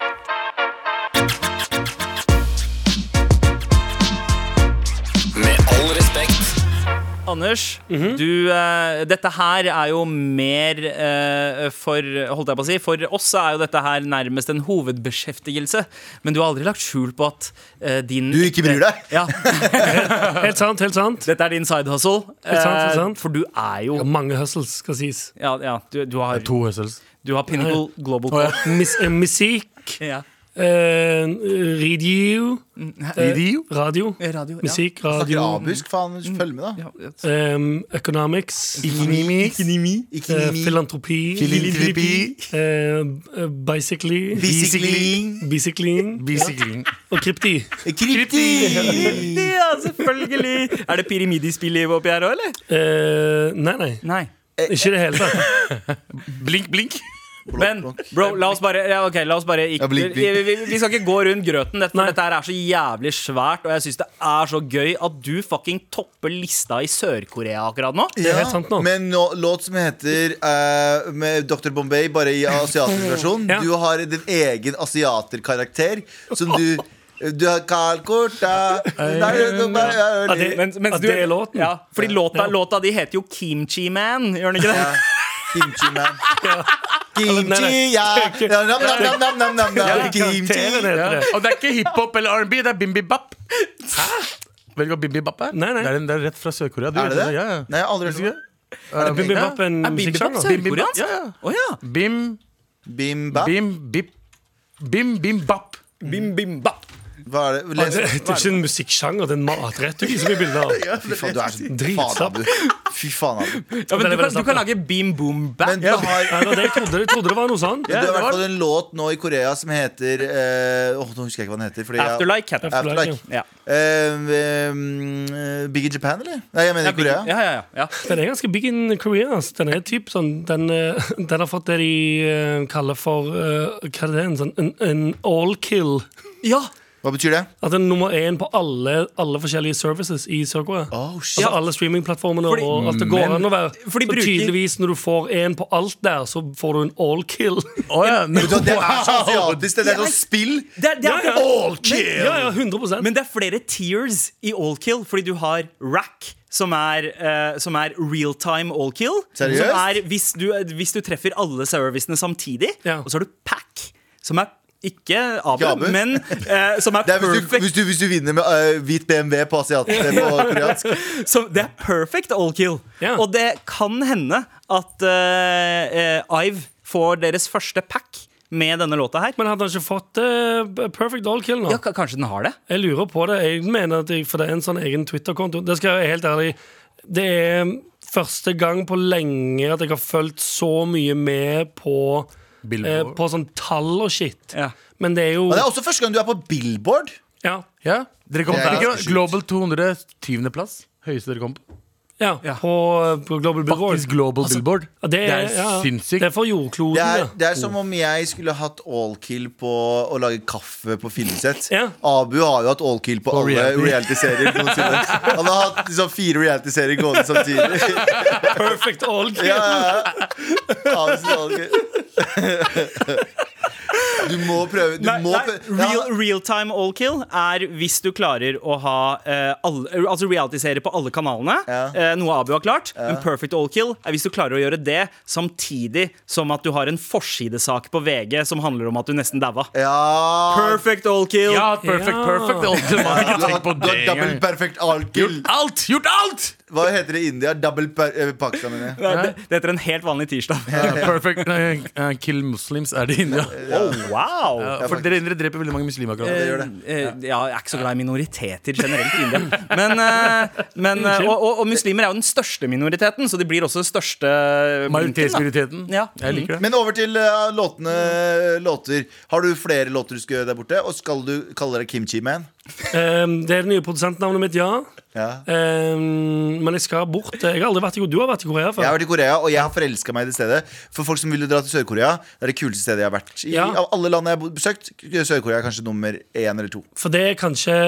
Med all respekt. Anders, Mhm. du, eh, dette her er jo mer eh, for Holdt jeg på å si. For oss så er jo dette her nærmest en hovedbeskjeftigelse. Men du har aldri lagt skjul på at eh, din Du ikke bryr deg? Ja, Helt sant, helt sant. dette er din side hustle. Helt sant, helt Eh, sant. For du er jo Ja, mange hustles, skal sies. Ja, ja du, du, har, To hustles. du har Pinnacle Global Å, ja. Corp. Mis, eh, musikk, Ja. Mm. eh, radio, eh, Idiot. radio, Eh, Radio. Ja. musikk, Snakker radio, arabisk, faen. Følg med, da. Ja, ja. eh, economics, Inimix. eh, Ikke mi- filantropi, Filantropi. eh, eh, bicycling, Bicycling. bicycling Bicycling. og krypti. Krypti! ja, selvfølgelig! Er det pyramidispillet oppi her òg, eller? Eh, nei, nei. Nei. Ikke i det hele tatt. Blink, blink. Men bro, la oss bare, ja, ok, la oss bare ikke, Ja, blink, blink. Vi, vi, vi skal ikke gå rundt grøten. Dette, Nei. dette her er så jævlig svært, og jeg syns det er så gøy at du fucking topper lista i Sør-Korea akkurat nå. Det er helt sant nå. Med en nå- låt som heter eh, med Dr. Bombay, bare i asiatisk versjon. Ja. Du har din egen asiaterkarakter som du Du har Carl Corta Ja, det- Mens, mens at det er låten? Ja, fordi låta, Ja. låta di heter jo Kimchi Man, gjør den ikke det? Kimchi man. Nei, nei. Kimchi, ja. Ja, nam, nam, nam, nam, nam, nam, nam. Karakteren Kimchi. heter det. Og det er ikke hiphop eller R&B, det er bimbi-bap. Vet du hva bimbi-bap er? Nei, nei. Det, er en, det er rett fra Sør-Korea. Du Er det det? vet Ja, ja. Nei, jeg har aldri hørt om det. Bimbi Bap er en Er Bimbi Bap musikksjanger. sørkoreansk? Ja, ja. Å ja. Bim, Bim bap. bim, bip. Bim, bim, bap. Bim, bim, bap. Hva er det? Det det Les. er ikke en musikksjanger, det er en matrett du viser meg bilder av. Fy faen, du er så Dritslapp. faen, Abu. Fy faen, Abu. Ja, men Den er du, veldig kan, du slapp, kan ja. lage Bim Boom Bap. Men du har Ja, det var det jeg trodde, jeg trodde det var noe sånn. Du har i det hvert var- fall en låt nå i Korea som heter eh, Åh, Nå husker jeg ikke hva den heter. fordi jeg- Afterlike heter den. Afterlike. Afterlike, Ja. Eh, eh, Big in Japan, eller? Nei, jeg mener i Korea. Ja, ja, ja, ja. Den er ganske big in Korea. ass. Den er typ sånn Den, eh, den har fått det de eh, kaller for eh, Hva er det? En, sånn, en, en all kill. ja. Hva betyr det? At den er nummer én på alle, alle forskjellige services i Sør-Korea. Oh, shit. Altså alle streamingplattformene Ah. Fordi- og alt det går an å være. for de Så bruker- tydeligvis når du får én på alt der, så får du en all kill. Å ja. Vet du hva, Det er så asiatisk. Det er sånn spill. Det, er- det er ja. All kill! Ja, ja, 100 Men det er flere tiers i all kill, fordi du har rack. Som er, eh, som er real time all kill. Seriøst? Som er hvis du, hvis du treffer alle servicene samtidig. Ja. Og så har du pack, som er ikke Abu, Ikke Abu. men eh, som er Det er hvis du, perfect. hvis du, hvis du vinner med eh, hvit BMW på asiatisk eh, på koreansk. som, det er perfect all kill. Ja. Og det kan hende at eh, eh, Ive får deres første pack med denne låta her. Men hadde han ikke fått eh, perfect all kill nå? Ja, ka- kanskje den har det? Jeg lurer på det. Jeg mener at jeg, For det er en sånn egen Twitter-konto. Det skal jeg være helt ærlig Det er um, første gang på lenge at jeg har fulgt så mye med på eh, Billboard. På sånn tall og shit. Ja. Men det er jo Og det er også første gang du er på Billboard. Ja. Ja. Dere kom Det er dere ganske kom- Global 200, syvende plass. Høyeste dere kom på. ja, På, på Global Billboard. Faktisk Global Billboard. Ja, Det er, det er ja, sinnssykt. Det er for jordkloden, Det er, ja. det er som om jeg skulle hatt all kill på å lage kaffe på filmsett. Ja. Abu har jo hatt all kill på alle reality. reality-serier. noensinne. Han har hatt liksom fire reality-serier gående samtidig. Perfect all kill. Ja, ja, ja. Abu sin all kill. Du må prøve. Du Nei, må nei, prøve. Ja. real, real time all kill er hvis du klarer å ha eh, alle, eh, Altså realityserier på alle kanalene, Ja. eh, noe Abu har klart. En perfect all kill er hvis du klarer å gjøre det samtidig som at du har en forsidesak på VG som handler om at du nesten daua. ja. Perfect all kill! Ja, perfect, Ja. perfect. Det er alltid man har ikke Du har- tenkt på du det har double engang. perfect all-kill. Gjort alt! Gjort alt! Hva heter det i India? Double per eh, Pakistan, mener jeg. Nei, Det, det heter en helt vanlig tirsdag. Perfect eh, eh, kill muslims er det i India. Oh, wow! Ja, for dere indere dreper veldig mange muslimer akkurat. gjør det. Eh, eh, ja, jeg er ikke så glad i minoriteter generelt i India. Men, eh, men, eh, og, og, og muslimer er jo den største minoriteten, så de blir også den største blinken, da. Majoritetsminoriteten. Ja. Eh, Jeg liker det. Men over til eh, låtene. Låter. Har du flere låter du skal gjøre der borte? Og skal du kalle deg Kimchi Man? Ehm, det er det nye produsentnavnet mitt, ja. Ja. Ehm, men jeg skal bort. Jeg har aldri vært i Korea. Du har vært i Korea Jeg har før. vært i Korea, og jeg har forelska meg i det stedet. For folk som ville dra til Sør-Korea, det er det kuleste stedet jeg har vært i. Ja. Av alle land jeg har bo- besøkt, Sør-Korea er kanskje nummer én eller to. For det er kanskje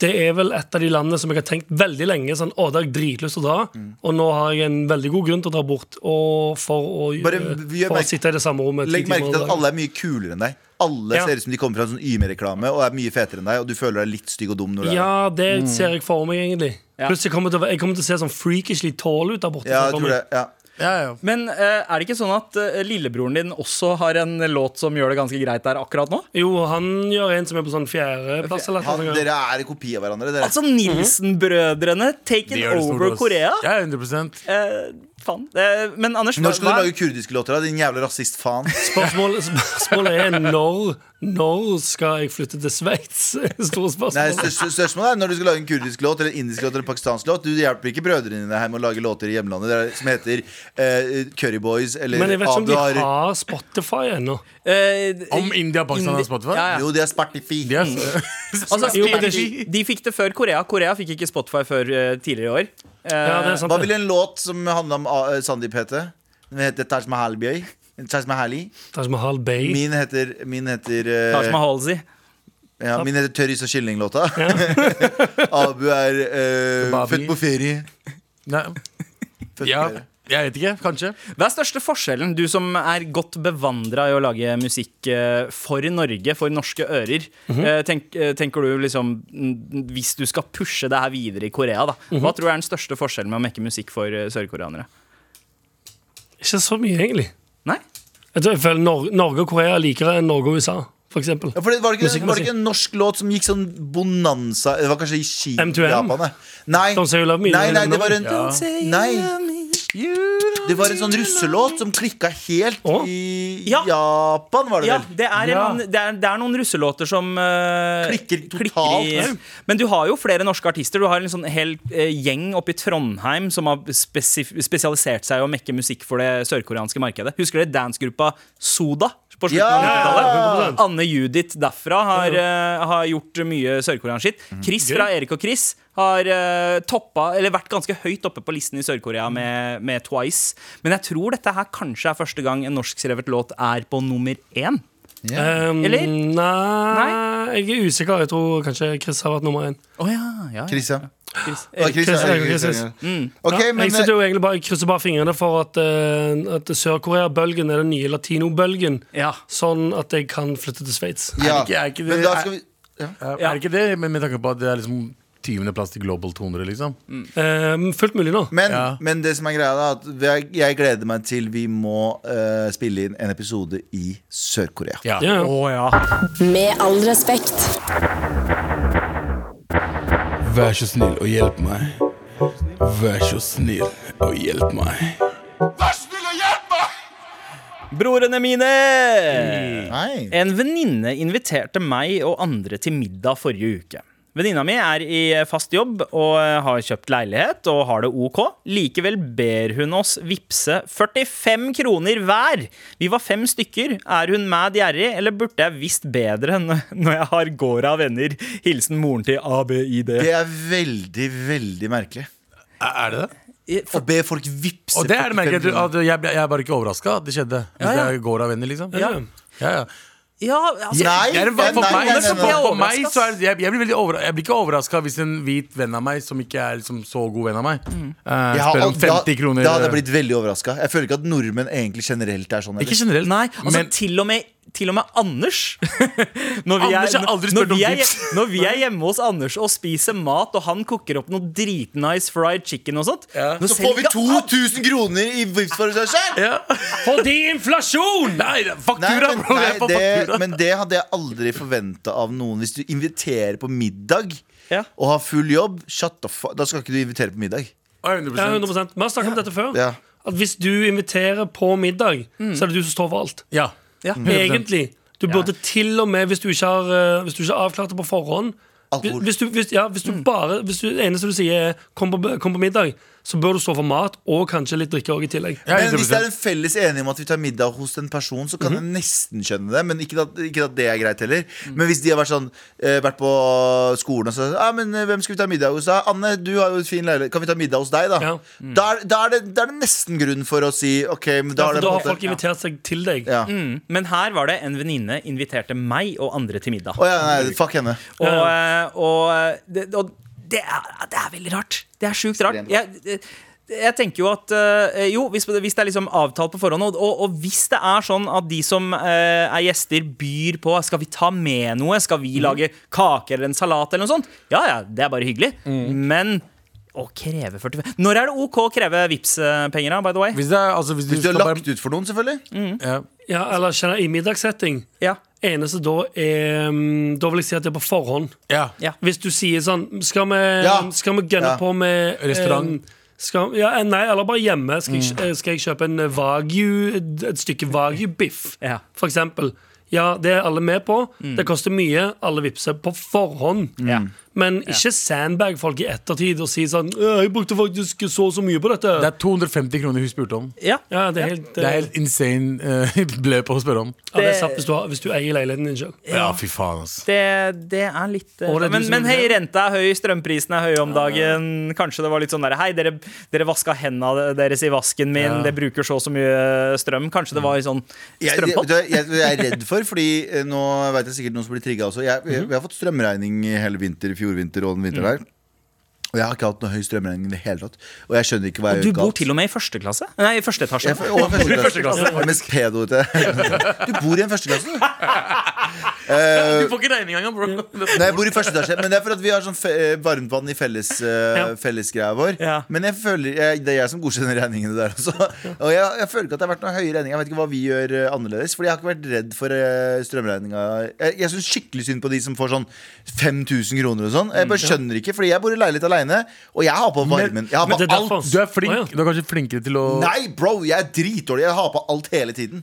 Det er vel et av de landene som jeg har tenkt veldig lenge sånn, å, det har jeg dritlyst til å dra. Mm. Og nå har jeg en veldig god grunn til å dra bort og for å, Bare gjør for å merke- sitte i det samme rommet. ti Legg merke timer til om at alle er mye kulere enn deg. Alle Ja. ser ut som de kommer fra en sånn Yme-reklame og er mye fetere enn deg, og du føler deg litt stygg og dum når du er der. Ja, det ser jeg for meg, egentlig. Ja. Pluss jeg kommer, til, å være- jeg kommer til å se sånn freakishly tall ut der borte. Ja, jeg ser jeg for tror det. meg. Ja. Ja, ja. Men eh, er det ikke sånn at eh, lillebroren din også har en låt som gjør det ganske greit der akkurat nå? Jo, han gjør en som er på sånn fjerdeplass eller Han, noe. dere er en kopi av hverandre. Dere. Altså Nilsen-brødrene, Mhm. De taken gjør det stort, over ass. Korea. Ja, 100 Eh, faen. Eh, men Anders, hva, Når skal du lage kurdiske låter, da? Din jævla rasist faen. Spørsmålet, spørsmålet er når, når skal jeg flytte til Sveits? Store Nei, spørsmål. største- Spørsmålet er når du skal lage en kurdisk låt eller en indisk låt eller en pakistansk låt. Du hjelper ikke brødrene dine her med å lage låter i hjemlandet det er, som heter eh, Curry Boys eller Men jeg vet ikke om de Abdar- har Spotify ennå. eh, Om India og Pakistan har Spotify? Ja, ja. Jo, de er spartifi. De er s- Altså, Jo, men det- de, de fikk det før Korea. Korea fikk ikke Spotify før eh, tidligere i år. Ja, det er sant. Hva vil en låt som handler om eh, Sandeep hete? Den heter Taj Mahal-bjøy. Taj Mahali. Taj Mahal Bay. Min heter, min heter eh, Taj Mahalzi. Ja, min heter Tørris og kyllinglåta. Abu er eh, Babi. født på ferie. Nei, Født ja, på ferie. jeg vet ikke. Kanskje. Hva er største forskjellen, du som er godt bevandra i å lage musikk eh, for Norge, for norske ører? Mhm. Eh, tenk, eh, tenker du liksom mm, Hvis du skal pushe det her videre i Korea, da, Mhm. hva tror du er den største forskjellen med å mekke musikk for eh, sørkoreanere? Ikke så mye, egentlig. Nei? Jeg tror jeg føler Nor Norge og Korea er likere enn Norge og USA, for eksempel. Ja, for det var, det ikke, Musikkmessig. var det ikke en norsk låt som gikk sånn bonanza Det var kanskje i Kina? M2M? Japan, det. nei. Don't say you love me, nei, nei, eller det var en Ja. Nei, det var en sånn russelåt som klikka helt Å? i Ja. Japan, var det Ja, vel? det er, en Ja. annen- det er, det er noen russelåter som eh, Klikker totalt. i- Men du har jo flere norske artister. Du har en sånn hel eh, gjeng oppe i Trondheim som har spesif spesialisert seg i å mekke musikk for det sørkoreanske markedet. Husker dere dansegruppa Soda? På slutten Ja! av 90-tallet. 100%. Anne Judith derfra har, eh, har gjort mye sørkoreansk skitt. Mm, Chris fra Erik og Chris har eh, toppa, eller vært ganske høyt oppe på listen i Sør-Korea Mm. med, med Twice. Men jeg tror dette her kanskje er første gang en norskskrevet låt er på nummer én. Um, Eller? Nei, jeg er usikker. Jeg tror kanskje Chris har vært nummer én. Oh, ja, ja, ja. Christian. Chris. Ja, Christian. Chris- Erik Chris- Christian, ja. Ja, Ok, jeg, men eh, sitter jo egentlig bare, jeg krysser bare fingrene for at, eh, at Sør-Korea-bølgen er den nye latinobølgen. Ja. Sånn at jeg kan flytte til Sveits. eh, ja. Er det ikke- er ikke det- Men da skal vi Er er ikke det med, med tanke på at det er liksom 20. plass til Global 200, liksom? Eh, fullt mulig nå. Men, Ja. men det som er greia da er at jeg, jeg gleder meg til vi må eh, spille inn en episode i Sør-Korea. Ja. Ja. Med all respekt. Vær så snill og hjelp meg. Vær så snill og hjelp meg. Brorene mine! Nei. En venninne inviterte meg og andre til middag forrige uke. Venninna mi er i fast jobb og har kjøpt leilighet og har det ok. Likevel ber hun oss vippse 45 kroner hver. Vi var fem stykker. Er hun mad gjerrig, eller burde jeg visst bedre n- når jeg har gård av venner? Hilsen moren til ABID. Det er veldig, veldig merkelig. Er er det det? Å be folk vippse Og det er 45 det merkelig. kroner. at Jeg, jeg er bare ikke overraska at det skjedde. Hvis Ja, ja. det går av venner, liksom. Ja. Ja, ja. Ja, altså, Nei, Det er en- for, for, nei, meg, nei, nei, for, nei, nei. for meg så er det, jeg, jeg, blir veldig over, jeg blir ikke overraska hvis en hvit venn av meg, som ikke er liksom så god venn av meg, eh, Jeg har spør om aldri- 50 kroner. eh. Da, da hadde jeg blitt veldig overraska. Jeg føler ikke at nordmenn egentlig generelt er sånn. Ikke heller. generelt. Nei, altså men til og med til og med Anders Når vi, Anders er, har aldri når, spurt om vi er, tips. når vi er hjemme hos Anders og spiser mat, og han koker opp noe dritnice fried chicken og sånt nå Så selv får vi ikke An- 2000 kroner i Vipps-forespørsel! Fordi inflasjon! Nei, det er Nei, faktura, men, bro! jeg nei er på det, faktura. men det hadde jeg aldri forventa av noen. Hvis du inviterer på middag Ja. og har full jobb, shut the fuck, da skal ikke du invitere på middag. eh, Ja, Ja, 100 100 Vi har snakket om dette før. Ja. Mm. At hvis du inviterer på middag, så er det du som står for alt. Ja. Egentlig. Du burde til og med, hvis du ikke har, eh, hvis du ikke har avklart det på forhånd hvis, Alkohol. Mm. hvis du, hvis, ja, hvis du bare Hvis du, det eneste du sier er 'kom på, kom på middag', så bør du stå for mat og kanskje litt drikke også i tillegg. Ja, Men hvis det er 100%. en felles enighet om at vi tar middag hos en person, så kan jeg nesten skjønne det. Men ikke at, ikke at det er greit heller. Men hvis de har vært, sånn, eh, vært på skolen og så ah, men eh, hvem skal vi ta middag hos? da? Anne, du har jo et fin leilighet. Kan vi ta middag hos deg, da? Mm. Ja. Da, er, da, er det, da er det nesten grunn for å si OK, men da Ja, har for det da på har en folk måte invitert seg til deg. ja. Mm, Men her var det en venninne inviterte meg og andre til middag. Å ja, nei, fuck henne. Og, eh, og, eh, det, og det, er, det er veldig rart. Det er sjukt rart. Jeg, eh, jeg tenker jo at eh, Jo, hvis, hvis det er liksom avtalt på forhånd, og, og, og hvis det er sånn at de som eh, er gjester, byr på Skal vi ta med noe? Skal vi lage kake eller en salat eller noe sånt? Ja ja, det er bare hyggelig. Men å kreve 45 Når er det OK å kreve Vipps-penger, da, by the way? Hvis, det er, altså, hvis, du Hvis du har skal lagt ut for noen, selvfølgelig. bare, ja. Ja, eller kjenner, I middagssetting. Ja. Eneste da er mm, Da vil jeg si at det er på forhånd. Ja. Ja. Hvis du sier sånn Skal vi, Ja. skal vi gønne Ja. på med Restaurant. Mm. em, skal, ja, eh, nei, eller bare hjemme. Skal, jeg, eh, skal jeg kjøpe en wagyu, et stykke wagyu-biff, Ja. for eksempel? Ja, det er alle med på. Mm. Det koster mye. Alle vippser på forhånd. Men ikke sandbag folk i ettertid og si sånn «Øh, 'Jeg brukte faktisk så og så mye på dette'. Det er 250 kroner hun spurte om. ja. ja, det er helt, eh, Det er helt insane uh, beløp å spørre om. ja, det er satt hvis du, har, hvis du eier leiligheten din sjøl. Ja, fy faen, ass. Det, det er litt eh, Og det er du Men, som- men hei, renta er høy, strømprisen er høy om dagen. Kanskje det var litt sånn der Hei, dere, dere vaska hendene deres i vasken min, Ja. det bruker så og så mye eh, strøm. Kanskje det var i sånn Jeg, jeg, strømpott? jeg, jeg er redd for, fordi eh, nå vet jeg sikkert noen som blir trigga også. Jeg, Mhm. jeg, jeg har fått strømregning i hele vinter, i fjor vinter og den vinteren her. Og jeg har ikke hatt noe høy strømregning i det hele tatt. Og jeg skjønner ikke hva jeg Du gjør bor galt. til og med i første klasse? Nei, i første etasje. Jeg f- og første klasse. Jeg er mest pedo ute. Du bor i en førsteklasse, du. Eh, Du får ikke regning engang, bro. Nei, jeg bor i første etasje. Men det er for at vi har sånn fe eh, varmtvann i felles, eh, fellesgreia vår. Ja. Men jeg føler, jeg, det er jeg som godkjenner regningene der også. Og jeg, jeg føler ikke at det har vært noen høye regninger. Jeg vet ikke hva vi gjør eh, annerledes. Fordi jeg har ikke vært redd for eh, strømregninga. Jeg, jeg syns skikkelig synd på de som får sånn 5000 kroner og sånn. Jeg bare skjønner ikke, fordi jeg bor i leilighet aleine, og jeg har på varmen. Jeg har Mm, Men på det er alt. derfor. Du er Å, flink. ja. Du er kanskje flinkere til å Nei, bro, jeg er dritdårlig. Jeg har på alt hele tiden.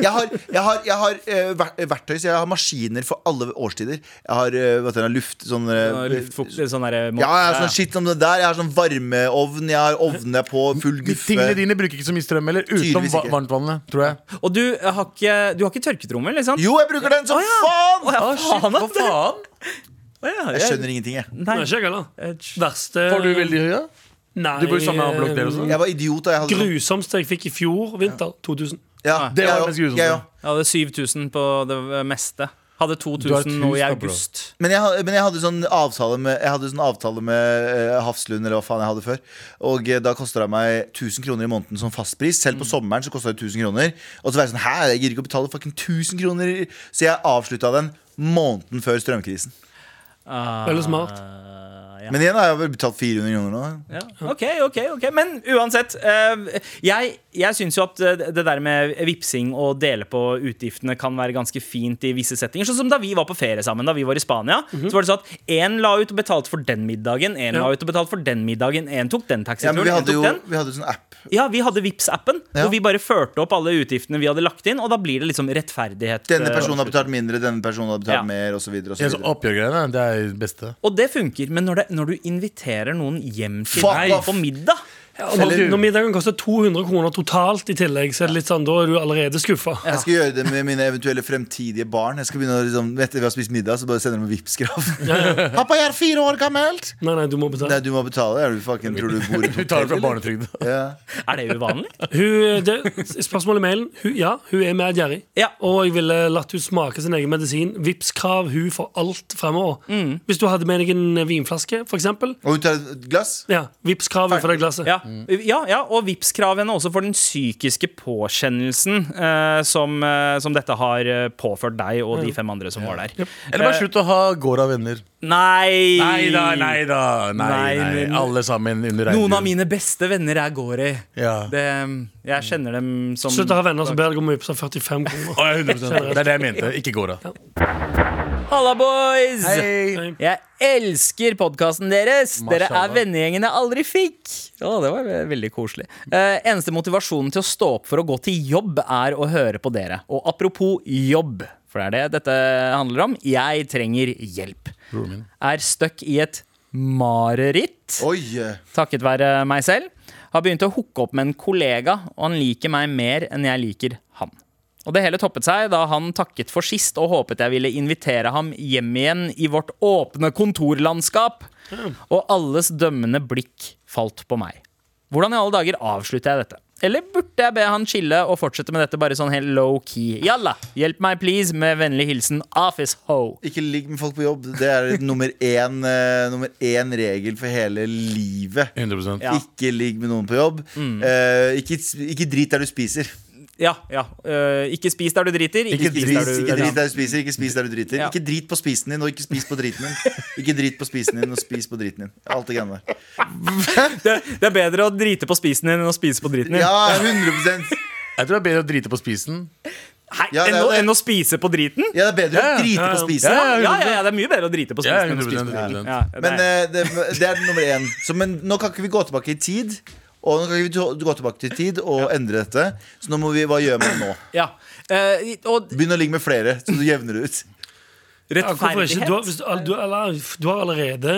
Jeg har, jeg har, jeg har eh, ver- verktøy, så jeg har maskiner for alle årstider. Jeg har eh, hva heter det, luft sånn eh, Sånn luftfukt- sånn der- ja, jeg har sånn shit som det der. Jeg har sånn varmeovn. Jeg har ovner på full De guffe. Tingene dine bruker ikke så mye strøm heller, utenom Tydeligvis va- ikke. varmtvannet, tror jeg. Og du eh, har ikke, du har ikke tørketrommel, liksom? Jo, jeg bruker den som faen! ja, faen, Hva faen? Jeg skjønner ingenting, jeg. Nei, ikke jeg heller. Verste Får du veldig høye? Nei. eh, Du bor i samme blokk der også? Jeg var idiot da jeg hadde sånn. grusomste jeg fikk i fjor vinter. 2000. Ja, jeg Det var det òg, mest grusomme. jeg òg. Jeg hadde 7000 på det meste. Hadde 2000 hus nå i da, bro. august. Men jeg, ha- men jeg hadde sånn avtale med, jeg hadde sånn avtale med eh, Hafslund, eller hva faen jeg hadde før. Og eh, da kosta det meg 1000 kroner i måneden som fastpris. Selv på Mm. sommeren så kosta det 1000 kroner. Og så var jeg sånn, hæ, jeg gidder ikke å betale fucking 1000 kroner. Så jeg avslutta den måneden før strømkrisen. Veldig smart. Eh, ja. Men igjen har jeg vel betalt 400 kroner nå. Ja. Ok, ok, ok Men uansett. eh, jeg jeg syns jo at eh, det der med vipsing og dele på utgiftene kan være ganske fint i visse settinger. Sånn som da vi var på ferie sammen, da vi var i Spania. Så var det sånn at én la ut og betalte for den middagen, én Ja. la ut og betalte for den middagen, én tok den Ja, taxituren, men vi én hadde tok jo den. vi hadde sånn app. Ja, vi hadde vips appen Ja. hvor vi bare førte opp alle utgiftene vi hadde lagt inn, og da blir det liksom rettferdighet. Denne eh, personen har betalt mindre, denne personen har betalt Ja. mer, osv. Ja, så Oppgjørgreiene, det er det beste. Og det funker, men når, det, når du inviterer noen hjem til Fuck deg off. på middag Ja, og når, når middagen koster 200 kroner totalt i tillegg, så er det litt sånn, da er du allerede skuffa. Jeg skal gjøre det med mine eventuelle fremtidige barn. Jeg skal begynne å liksom, Etter vi har spist middag, så bare sender de Vipps-krav. Pappa, jeg er fire år gammelt! Nei, nei, du Nei, må betale. du må betale. Er du fucking, tror du bor i Du et tar det hotell? fra eller? barnetrygden. Ja. Er det uvanlig? Hun, det, spørsmålet i mailen. Hun, ja, hun er mer gjerrig. Ja. Og jeg ville latt hun smake sin egen medisin. Vipskrav hun for alt fremover. Mm. Hvis du hadde med deg en vinflaske, for eksempel. Og hun tar et glass? Ja, Vipskrav for det glasset. Ja. Mm. Ja, ja og Vipps-kravene også for den psykiske påkjennelsen eh, som, eh, som dette har eh, påført deg og de fem andre som var der. Eh, Eller bare slutt å ha gård av venner. Nei! Eh, Nei da, nei da. Nei, Nei, nei. men- Alle sammen under Noen av regnbuen. mine beste venner er Gori. Ja. Det, jeg kjenner dem som Slutt å ha venner som ber deg om å vippse 45 kroner. Å, ja, 100%. Det er det jeg mente. Ikke gård av. Halla, boys! Hei. Jeg elsker podkasten deres! Dere er Mashallah. vennegjengen jeg aldri fikk! Å, det var ve- veldig koselig. Eh, eneste motivasjonen til å stå opp for å gå til jobb, er å høre på dere. Og apropos jobb, for det er det dette handler om. Jeg trenger hjelp. Er stuck i et mareritt Oi! eh, takket være meg selv. Har begynt å hooke opp med en kollega, og han liker meg mer enn jeg liker han. Og det hele toppet seg da han takket for sist og håpet jeg ville invitere ham hjem igjen i vårt åpne kontorlandskap. Og alles dømmende blikk falt på meg. Hvordan i alle dager avslutter jeg dette? Eller burde jeg be han chille og fortsette med dette bare sånn helt low key? Jalla, hjelp meg please med vennlig hilsen Office Ho. Ikke ligg med folk på jobb. Det er nummer én, eh, nummer én regel for hele livet. 100 Ja. Ikke ligg med noen på jobb. Eh, ikke, ikke drit der du spiser. Ja, ja. øh, ikke spis der du driter. Ikke Ikke, spis drit, der du ikke drit der du spiser, ikke spis der du driter. Ja. Ikke drit på spisen din, og ikke spis på driten din. Ikke drit på spisen din, og spis på driten din. Alt det greiene der. det, det er bedre å drite på spisen din enn å spise på driten din. Ja, 100 Jeg tror det er bedre å drite på spisen. Hei, Ja, det enn, er å, det. enn å spise på driten? Ja, det er bedre å Ja, ja. drite Ja, på ja. spisen. Ja, ja, ja, det er mye bedre å drite på Ja, spisen enn å spise 100%, på driten. 100%. Ja, Men nei. eh, det, det er nummer én. Så, men nå kan ikke vi gå tilbake i tid. Og nå kan ikke vi to- gå tilbake til tid og endre dette. Så nå må vi, hva gjør man nå? ja. Eh, og Begynn å ligge med flere, så du jevner det ut. Ja, hvorfor ikke? Du, har- rettferdighet hvis du, al- du, eller, du har allerede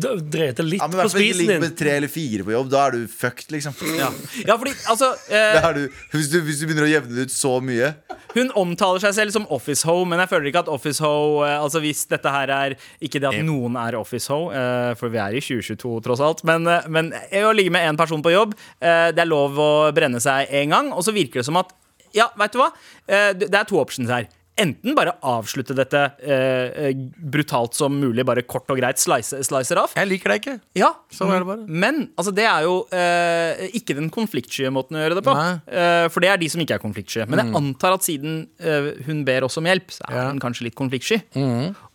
d- drevet litt Ja, men i på hvert fall ikke spisen ligge din. med tre eller fire på jobb. Da er du fucked, liksom. ja. ja, fordi altså Da eh, er du, hvis, du, hvis du begynner å jevne det ut så mye Hun omtaler seg selv som office ho, men jeg føler ikke at office ho eh, Altså hvis dette her er Ikke det at noen er office ho, eh, for vi er i 2022 tross alt, men, eh, men eh, å ligge med én person på jobb, eh, det er lov å brenne seg én gang, og så virker det som at Ja, veit du hva? Eh, det det er to options her. Enten bare avslutte dette eh, eh, brutalt som mulig, bare kort og greit slice, slicer av. Jeg liker deg ikke. Ja, Sånn er det bare. Men altså, det er jo eh, ikke den konfliktsky måten å gjøre det på. Nei. Eh, for det er de som ikke er konfliktsky. Men jeg antar at siden eh, hun ber oss om hjelp, så er Ja. hun kanskje litt konfliktsky.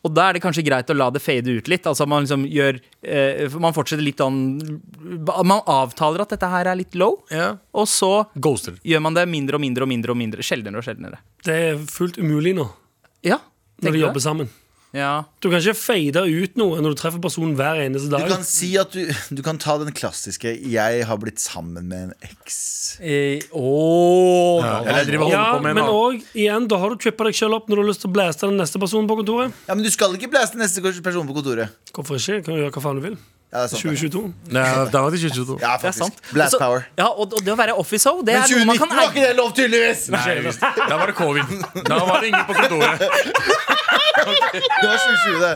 Og da er det kanskje greit å la det fade ut litt. Altså Man liksom gjør eh, for Man fortsetter litt sånn Man avtaler at dette her er litt low, Ja. og så Ghoster. gjør man det mindre og mindre og mindre og mindre sjeldnere og sjeldnere. Det er fullt umulig nå, Ja, når tenker de du? jobber sammen. Ja. Du kan ikke fade ut noe når du treffer personen hver eneste Du dag. kan si at du, du kan ta den klassiske 'jeg har blitt sammen med en eks'. Eh, åh, Eller jeg driver og Ja, holder på med en men annen. òg, igjen, da har du trippa deg sjøl opp når du har lyst til å blæste den neste personen på kontoret. Ja, Men du skal ikke blæse neste person på kontoret. Hvorfor ikke? Kan du gjøre hva faen du vil. Ja, det er sant, det. 2022. Nei, da var det 22. Ja, det er sant. faktisk. Blast Og så- power. Ja, og, og det å være office ho, det Men er noe 2019 man kan var eie. ikke det lov, tydeligvis! Nei, visst. da var det covid. Da var det ingen på kontoret. Det var 2020, det.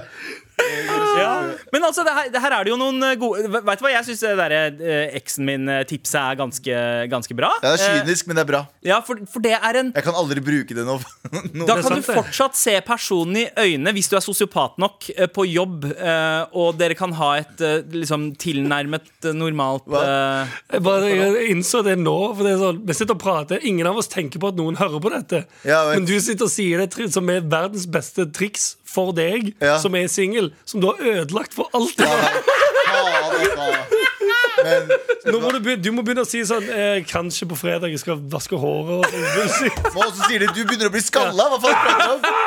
Men altså, det her, det her er det jo noen eh, gode Veit du hva, jeg syns det derre eh, eksen min-tipset er ganske, ganske bra. Ja, det er Eh, kynisk, men det er bra. ja, for, for det er en Jeg kan aldri bruke det nå. nå. da Det er kan du sant, det. fortsatt se personen i øynene hvis du er sosiopat nok eh, på jobb, eh, og dere kan ha et eh, liksom tilnærmet eh, normalt Hva? eh, Jeg bare jeg innså det nå. For det er sånn, vi sitter og prater, ingen av oss tenker på at noen hører på dette. Ja, jeg vet. men du sitter og sier det tri- som er verdens beste triks for deg, Ja. som er singel, som du har ødelagt for alltid. Faen, altså. Men Nå må du, begynne, du må begynne å si sånn eh, Kanskje på fredag jeg skal vaske håret. Og, sånn. og så sier de du begynner å bli skalla. Hva faen prater du om?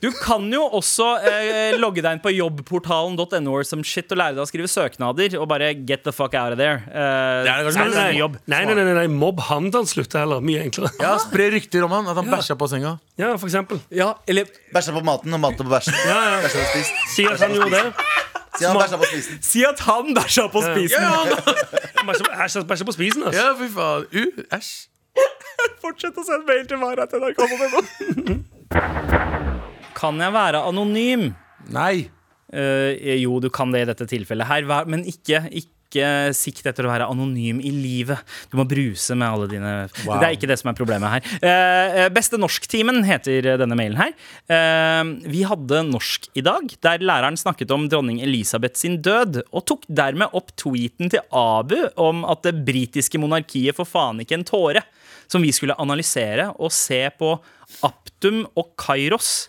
Du kan jo også eh, logge deg inn på jobbportalen.no som shit og lære deg å skrive søknader og bare get the fuck out of there. Eh, Det er det så kanskje er beste. det en nei, ny jobb. nei, nei, nei, nei, mobb han til han slutter heller. Mye enklere. Ja, Spre rykter om han at han bæsja på senga. Ja, for eksempel. Ja, eller Bæsja på maten og maten på bæsjen. Ja, ja. Bæsja på spist. Si at han gjorde det. Sier han bæsja på spisen. si at han bæsja på spisen. Bæsje bæsje- bæsje på spisen, altså. Ja, fy faen. U, æsj. Fortsett å sende mail til mara.nrk.no. kan jeg være anonym? Nei. Eh, jo, du kan det i dette tilfellet her, vær- men ikke, ikke ikke sikt etter å være anonym i livet. Du må bruse med alle dine Det er ikke det som er problemet her. Eh, eh, beste norsktimen heter eh, denne mailen her. Eh, vi hadde norsk i dag, der læreren snakket om dronning Elisabeth sin død, og tok dermed opp tweeten til Abu om at det britiske monarkiet får faen ikke en tåre, som vi skulle analysere og se på Aptum og Kairos.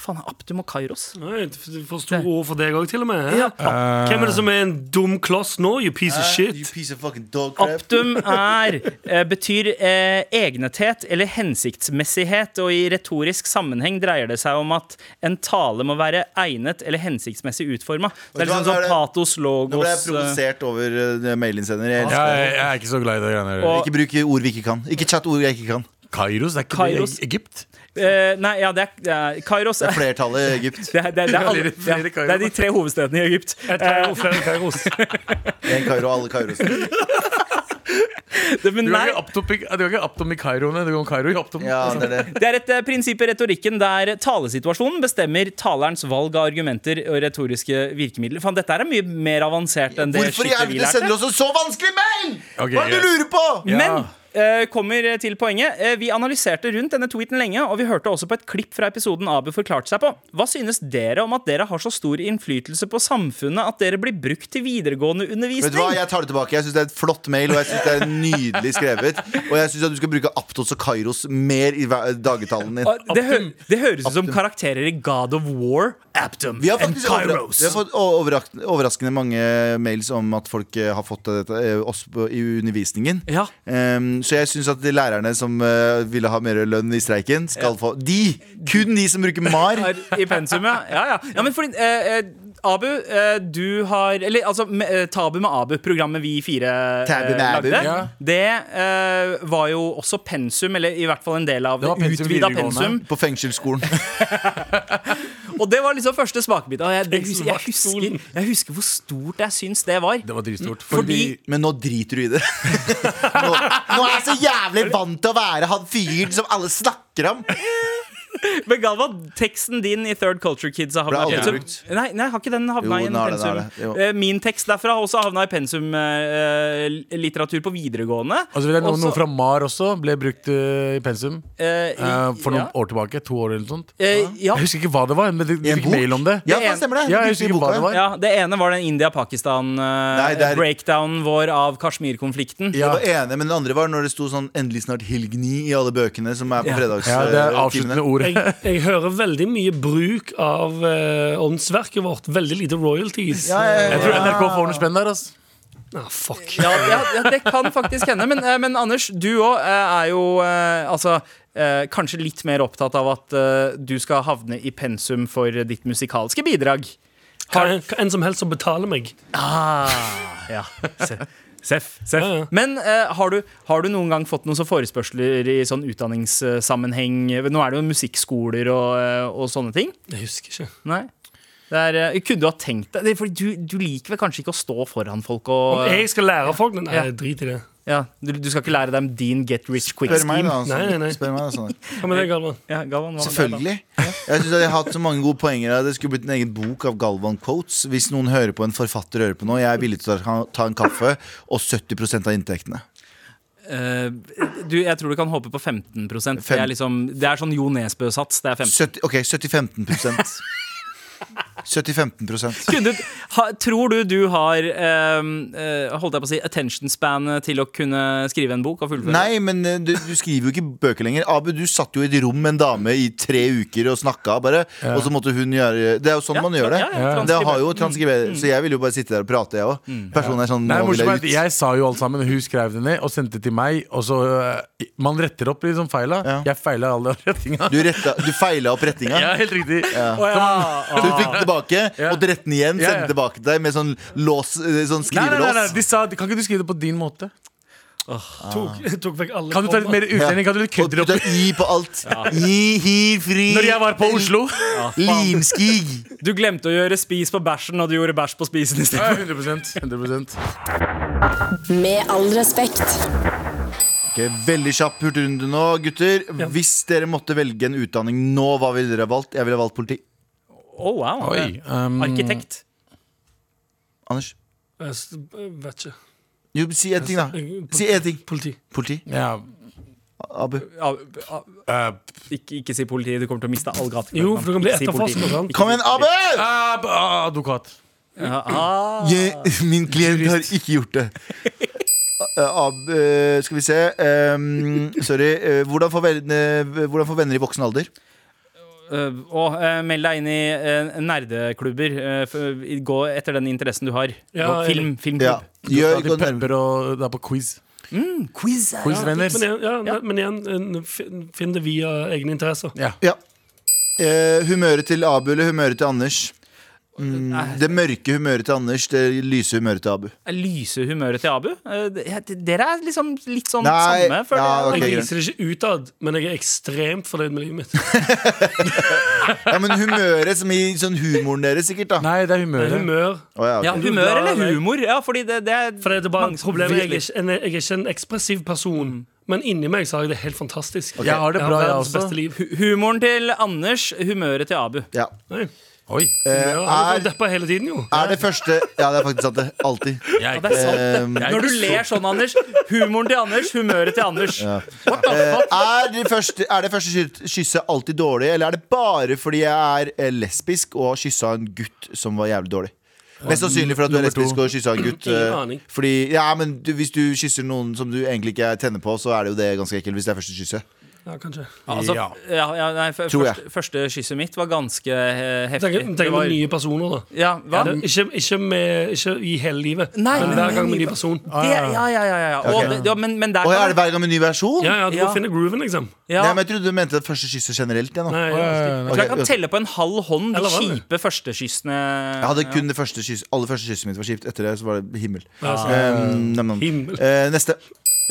Hva faen er Aptum og Kairos? Nei, det- For store ord for deg òg, til og med. hæ? Hvem er det som er en dum kloss nå? You piece of Eh, You shit. piece of fucking dog crap. Aptum er, eh, betyr eh, egnethet eller hensiktsmessighet, og i retorisk sammenheng dreier det seg om at en tale må være egnet eller hensiktsmessig utforma. Vet Det er du hva, liksom nå er sånn det- patos, Nå ble jeg logos eh, provosert over eh, det mailinnsender. Jeg elsker Jeg, det. jeg er ikke så glad i det greiene der. eh, Og- Ikke bruk ord vi ikke kan. Ikke chat ord jeg ikke kan. Kairos, er ikke Kairos. det Egypt? eh, Nei, ja, det er, det er Kairos. Det er Det flertallet i Egypt. er, det, er, det, er alle, ja, flere Kairos. det er de tre hovedstedene i Egypt. Et Kairo, Eh, flere Kairos. En Kairo, alle Kairos. Det- Men Du kan nei, ikke Aptom i- du kan ikke Aptom i Kairoene, du kan Kairo i Altså, Aptom. Ja, det er det. Det er et eh, prinsipp i retorikken der talesituasjonen bestemmer talerens valg av argumenter og retoriske virkemidler. Faen, dette her er mye mer avansert enn det Hvorfor i skittet vi helvete sender lærte. du oss en så vanskelig mail?! Ok, Hva er det du greit. lurer på?! Ja. Men eh, kommer til poenget. Eh, vi analyserte rundt denne tweeten lenge, og vi hørte også på et klipp fra episoden Abu forklarte seg på. Hva synes dere om at dere har så stor innflytelse på samfunnet at dere blir brukt til videregående Vet du hva, undervisning? Jeg tar det tilbake. Jeg syns det er et flott mail, og jeg synes det er nydelig skrevet. Og jeg syns du skal bruke Aptos og Kairos mer i hver- dagetalen din. Og Ah, Det, hø det høres ut som karakterer i God of War, Aptum Vi har and faktisk overra Kairos. vi har fått o- overrak- overraskende mange mails om at folk eh, har fått dette eh, oss på- i undervisningen. Ja. Ehm, så jeg syns at de lærerne som eh, ville ha mer lønn i streiken, skal få De! Kun de som bruker MAR. er i pensum, ja. ja, ja. ja men fordi, eh, eh, Abu, eh, du har Eller altså, me- eh, Tabu med Abu, programmet vi fire eh, Tabu med Abu. lagde, Ja. det eh, var jo også pensum, eller i hvert fall en del av Det var pensum utvida videregående. pensum. På fengselsskolen. Og det var liksom første smakebit. Og jeg, det, hus- jeg, Fengselsvaktskolen. husker, jeg husker hvor stort jeg syns det var. Det var dritstort. Fordi- Men nå driter du i det. nå, nå er jeg så jævlig vant til å være han fyren som alle snakker om. Men Galvan, teksten din i Third Culture Kids har havna Ble i aldri pensum. brukt. Nei, nei, har ikke den havna Jo, i en den har det, den pensum? har det, jo. Eh, Min tekst derfra har også havna i pensum eh, litteratur på videregående. Og så Altså, vil jeg noe, Også- noe fra Mar også ble brukt eh, i pensum. eh, eh, for noen ja. år tilbake. To år eller noe sånt. Eh, ja. Jeg husker ikke hva det var, men du I en fikk bok? mail om det. Ja, Det det en- stemmer det. Ja, jeg Brukte i husker ikke hva boka. det var. Ja, Det ene var den India-Pakistan-breakdownen Nei, det er- vår av Kashmir-konflikten. Ja. Det ene, men det andre var når det sto sånn 'endelig snart helgni' i alle bøkene som er på eh, Ja, det er avsluttende fredagstimene. ord. Jeg, jeg hører veldig mye bruk av eh, åndsverket vårt. Veldig lite royalties. Ja, ja, ja. Jeg tror NRK får noe spenn der, altså. Ah, fuck. Ja, ja, ja, det kan faktisk hende. Men, eh, men Anders, du òg er jo eh, altså eh, kanskje litt mer opptatt av at eh, du skal havne i pensum for ditt musikalske bidrag. Kan, kan en som helst som betaler meg. Ja, Ah. se- Seff. seff. Ja, ja. Men eh, har, du, har du noen gang fått noen sånne forespørsler i sånn utdanningssammenheng? Nå er det jo musikkskoler og, eh, og sånne ting. Jeg husker ikke. Nei. Det er, eh, kunne du ha tenkt deg det? Fordi du, du liker vel kanskje ikke å stå foran folk og Om jeg skal lære folk Nei, Ja. drit i det. ja, du, du skal ikke lære dem din get rich quick Spør meg, scheme. da. altså. Nei, nei, nei. Spør meg, da sånn. Hva med deg, Galvan? Ja, Galvan, hva med deg, da? Selvfølgelig. Jeg synes at jeg har hatt så mange gode poenger her. Det skulle blitt en egen bok av Galvan Quotes. Hvis noen hører på en forfatter hører på nå, jeg er villig til å ta- ta en kaffe og 70 av inntektene. Eh, du, jeg tror du kan håpe på 15 Det, Fem- er liksom, det er sånn Jo Nesbø-sats. Det er 15 70, ok, 70-15 70-15 kunne, du- ha, Tror du du har eh, eh, Holdt jeg på å si attention span eh, til å kunne skrive en bok og fullføre? Nei, men eh, du, du skriver jo ikke bøker lenger. Abu, du satt jo i et rom med en dame i tre uker og snakka, bare. Og så måtte hun gjøre Det er jo sånn Ja, man gjør det. ja, ja, ja. Det har jo transkriber Så jeg vil jo bare sitte der og prate, jeg òg. Personen er sånn Mm. Nei, Nå vil morsomt er jeg at ut. jeg sa jo alt sammen, og hun skrev det ned og sendte det til meg. Og så øh, Man retter opp liksom feila. Ja. Jeg feila alle retninga. Du, retta- du feila opp rettinga. Ja, helt riktig. Å, ja. Så hun fikk den tilbake, Ja. måtte rette den igjen, Ja, ja. sende den tilbake til deg med sånn, lås, eh, sånn Nei, nei, nei, nei. skrivelås. De sa kan ikke du skrive det på din måte? Tok, tok vekk alle Kan du ta litt mer utlending? Kan du litt Og kødder putta opp? i på alt. Gi, hi, fri. Når jeg var på Oslo. Limskig. Du glemte å gjøre spis på bæsjen, og du gjorde bæsj på spisen i stedet. 100%, 100%. Med all respekt. Ok, veldig kjapp hurtigrunde nå, gutter. Hvis dere måtte velge en utdanning nå, hva ville dere valgt? Jeg ville valgt politi. Å, Oh, wow. Mm. Oi, um, Arkitekt. Anders? Jeg s- vet ikke. Jo, si én ting, da. Si én ting. Politi. Politi. Ja, Abu. Ja, ja, eh, ikke, ikke si politi, du kommer til å miste all gratis. Jo, for du kan bli sånn. Ikke si politi. etterforsket, sant? Ikke Kom si igjen, Abu! politi. eh, ah, advokat. Ja, ah. Jeg, min klient har ikke gjort det. Eh, Ab, eh, skal vi se ehm, Sorry. eh, hvordan, få venner, hvordan få venner i voksen alder? Eh, og eh, meld deg inn i eh, nerdeklubber. Eh, f- gå etter den interessen du har. Ja, Gå- film, Ja. filmklubb. Gjør, Ja, de gå nærmere. pepper og det er på quiz. Quiz. Quizvenner. Men igjen, ja, ne- men igjen en- fin- finn det via egne interesser. Ja. Ja. Eh, humøret til Abu eller humøret til Anders? Mm, det mørke humøret til Anders, det lyse humøret til Abu. Lyse humøret til Abu. Eh, det- dere er liksom litt sånn Nei, samme. føler ja, jeg. ok. Jeg viser det ikke utad, men jeg er ekstremt fornøyd med livet mitt. Ja, men humøret som i sånn humoren deres, sikkert. da Nei, det er humøret. Humør. Å, ja, ok. Ja, humør eller humor? Ja, fordi det, det er For det er bare mange som problemet Jeg er virkelig- ikke en, jeg er ikke en ekspressiv person, men inni meg så har jeg det helt fantastisk. Jeg har det bra, jeg verdens også. beste liv. Hu- Humoren til Anders, humøret til Abu. Ja. Nei, Oi. Eh, jeg har er, vært deppa hele tiden, jo. er det første Ja, det er faktisk sant, det. Alltid. Jeg Ja, det er sant, det. Ehm, Når du ler sånn, Anders. Humoren til Anders, humøret til Anders. Eh, er, det første, er det første skyt- kysset alltid dårlig, eller er det bare fordi jeg er eh, lesbisk og kyssa en gutt som var jævlig dårlig? Mest sannsynlig for at du er Nummer to. lesbisk og kyssa en gutt. Ingen eh, aning. Fordi, ja, men du, Hvis du kysser noen som du egentlig ikke tenner på, så er det jo det ganske ekkelt. Hvis det er første kysset. Ja, kanskje. Altså, Ja. ja, ja, nei, f- Tror jeg. første, første kysset mitt var ganske eh, heftig. Tenk tenk Det på var- nye personer, da. ja, hva? Det- Ikke, ikke, med, ikke i hele livet, Nei, men men hver med gang ny med ny per- person. Det, ja, ja, ja. ja, ja. Ah, Og Ok. det, ja men, men der Å, ja, er det hver gang med ny versjon? Ja, ja, Du Ja. må finne grooven, liksom. ja. Nei, men Jeg trodde du mente det første kysset generelt. Jeg, nå. Nei, ja. Så jeg Ok, kan telle på en halv hånd de Eller hva? kjipe førstekyssene. jeg hadde kun det første kyss, alle første kysset mitt var kjipt. Etter det så var det himmel. Ja, så- Ehm, nam, nam. Himmel. Eh, neste.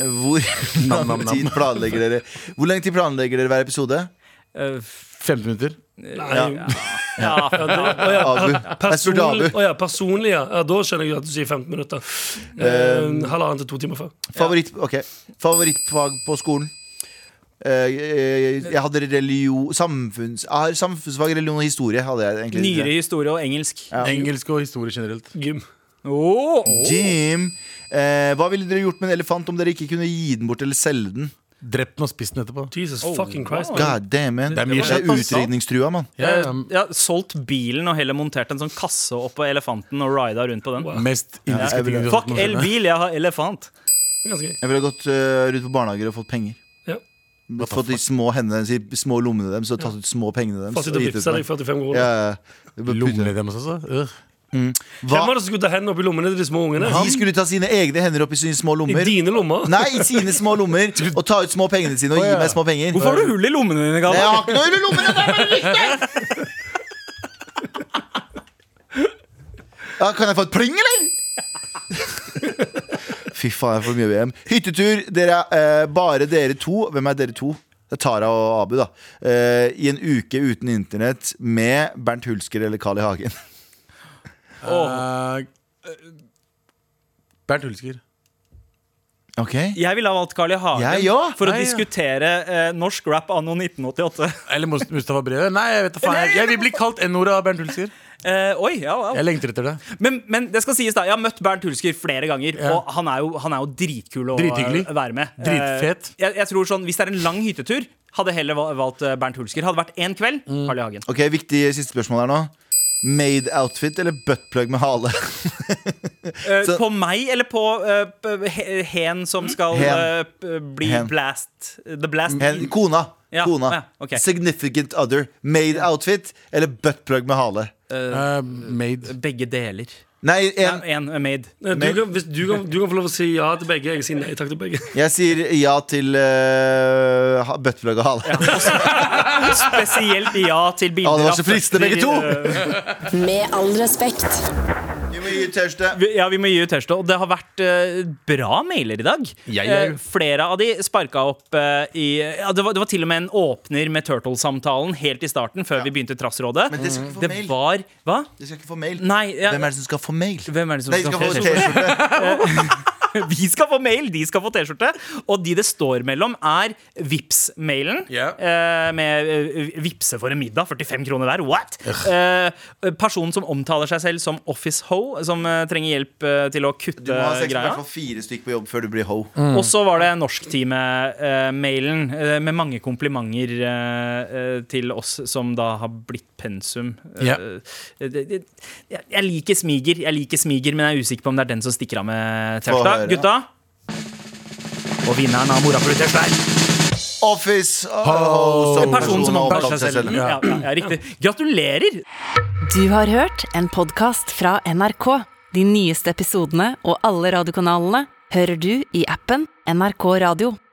Hvor lang tid planlegger dere Hvor lenge tid planlegger dere hver episode? Eh, f- 15 minutter. Nei. Ja, Å ja, Abu. Jeg spurte Abu. personlig, å ja, personlig, ja. ja. Da skjønner jeg at du sier 15 minutter. Eh, Halvannen til to timer før. Favoritt, ok. Favorittfag på skolen? Eh, eh, jeg hadde religion samfunns, jeg har Samfunnsfag, religion og historie hadde jeg egentlig. Nyere historie og engelsk. Ja. Engelsk og historie generelt. Gym. Åh, åh. Jim, eh, hva ville dere gjort med en elefant om dere ikke kunne gi den bort eller selge den? Drept den og spist den etterpå. Jesus fucking Christ. man. God damn, man. Det er mye Jeg kjent, er altså. utrydningstrua, mann. Ja, ja. Eh, Ja, solgt bilen og heller montert en sånn kasse oppå elefanten og rida rundt på den. Mest indiske jeg vil- ting du har Fuck hatt noensinne. elbil, jeg har elefant. Det er Ganske gøy. Jeg ville gått eh, rundt på barnehager og fått penger. Ja. Fått de små hendene, de små lommene deres og tatt ut små pengene deres. Fått sitte og og gitt ut vippse til deg 45 meg. kroner. Ja, ja, ja. Lommene deres også. øh. Hva? Hvem var det som skulle ta hendene opp i lommene til de små ungene? De skulle ta sine egne hender opp i sine små I lommer. dine lommer? Nei, i sine små lommer og ta ut små pengene sine og gi meg små penger. Hvorfor har du hull i lommene dine, Nei, Galvan? jeg har ikke noe hull i lommene! Det er bare rykter! Ja, kan jeg få et pling, eller? Fy faen, jeg får mye VM. Hyttetur. Dere er eh, bare dere to. Hvem er dere to? Det er Tara og Abu, da. Eh, I en uke uten internett med Bernt Hulsker eller Carl I. Hagen. Eh, Bernt Hulsker. Ok Jeg ville ha valgt Carl I. Hagen Jeg, ja. for å Nei, ja. diskutere eh, norsk rap anno 1988. Eller Mus- Mustafa Brevet. Nei, jeg vet da faen. Jeg, jeg vil bli kalt N-ordet av Bernt Hulsker. Eh, oi, ja, wow. Jeg lengter etter det. men, men det skal sies, da. Jeg har møtt Bernt Hulsker flere ganger, Ja. og han er, jo, han er jo dritkul å Drithyggelig. eh, være med. Dritfet. Eh, jeg, jeg tror sånn, Hvis det er en lang hyttetur, hadde jeg heller val- valgt eh, Bernt Hulsker. Hadde det vært én kveld, Mm. Carl I. Hagen. Ok, Viktig siste spørsmål her nå. Made outfit eller buttplug med hale? Eh, Så- på meg eller på eh, p- he- hen som skal Hen. eh, p- bli Hen. blast The blast Hen, kona. Ja, kona. ja, ok. Significant other. Made outfit eller buttplug med hale? Eh, made. Begge deler. Nei, en, Én er made. Nei, Du kan, hvis du, kan, du kan få lov å si ja til begge. Jeg sier nei takk til begge. jeg sier ja til eh, ha- buttplug og hale. Spesielt ja til Ja, det bilder var av så fristende, føtter begge to. i, eh, Med all respekt. Vi må gi ut T-skjorte. Vi- Ja, vi må gi ut T-skjorte. Og det har vært eh, bra mailer i dag. Ja, ja, ja. Eh, flere av de sparka opp eh, i ja, det, var, det var til og med en åpner med Turtle-samtalen helt i starten, før vi begynte Trassrådet. Men det skal ikke få Det mail. var Hva? De skal ikke få mail. Nei, ja, Hvem er det som skal få mail? hvem er det som Nei, de skal skal få få T-skjorte. Vi skal få mail, de skal få T-skjorte. Og de det står mellom, er Vips-mailen. Ja. eh, med eh, vipse for en middag, 45 kroner hver. What? Eh, personen som omtaler seg selv som Office Ho, som eh, trenger hjelp eh, til å kutte Du må ha sex med i greia. hvert fall fire stykk på jobb før du blir ho. Og så var det Norskteamet-mailen eh, med mange komplimenter eh, eh, til oss som da har blitt pensum. Eh, Ja. eh, det- det- jeg jeg liker smiger, jeg liker smiger, men jeg er usikker på om det er den som stikker av med Få T-skjorta. høre. Gutta! Og vinneren av Morapuler-T-skjorta er Office! Oh, som personen som har omtaler seg selv. Ja, ja, ja, riktig. Gratulerer! Du har hørt en podkast fra NRK. De nyeste episodene og alle radiokanalene hører du i appen NRK Radio.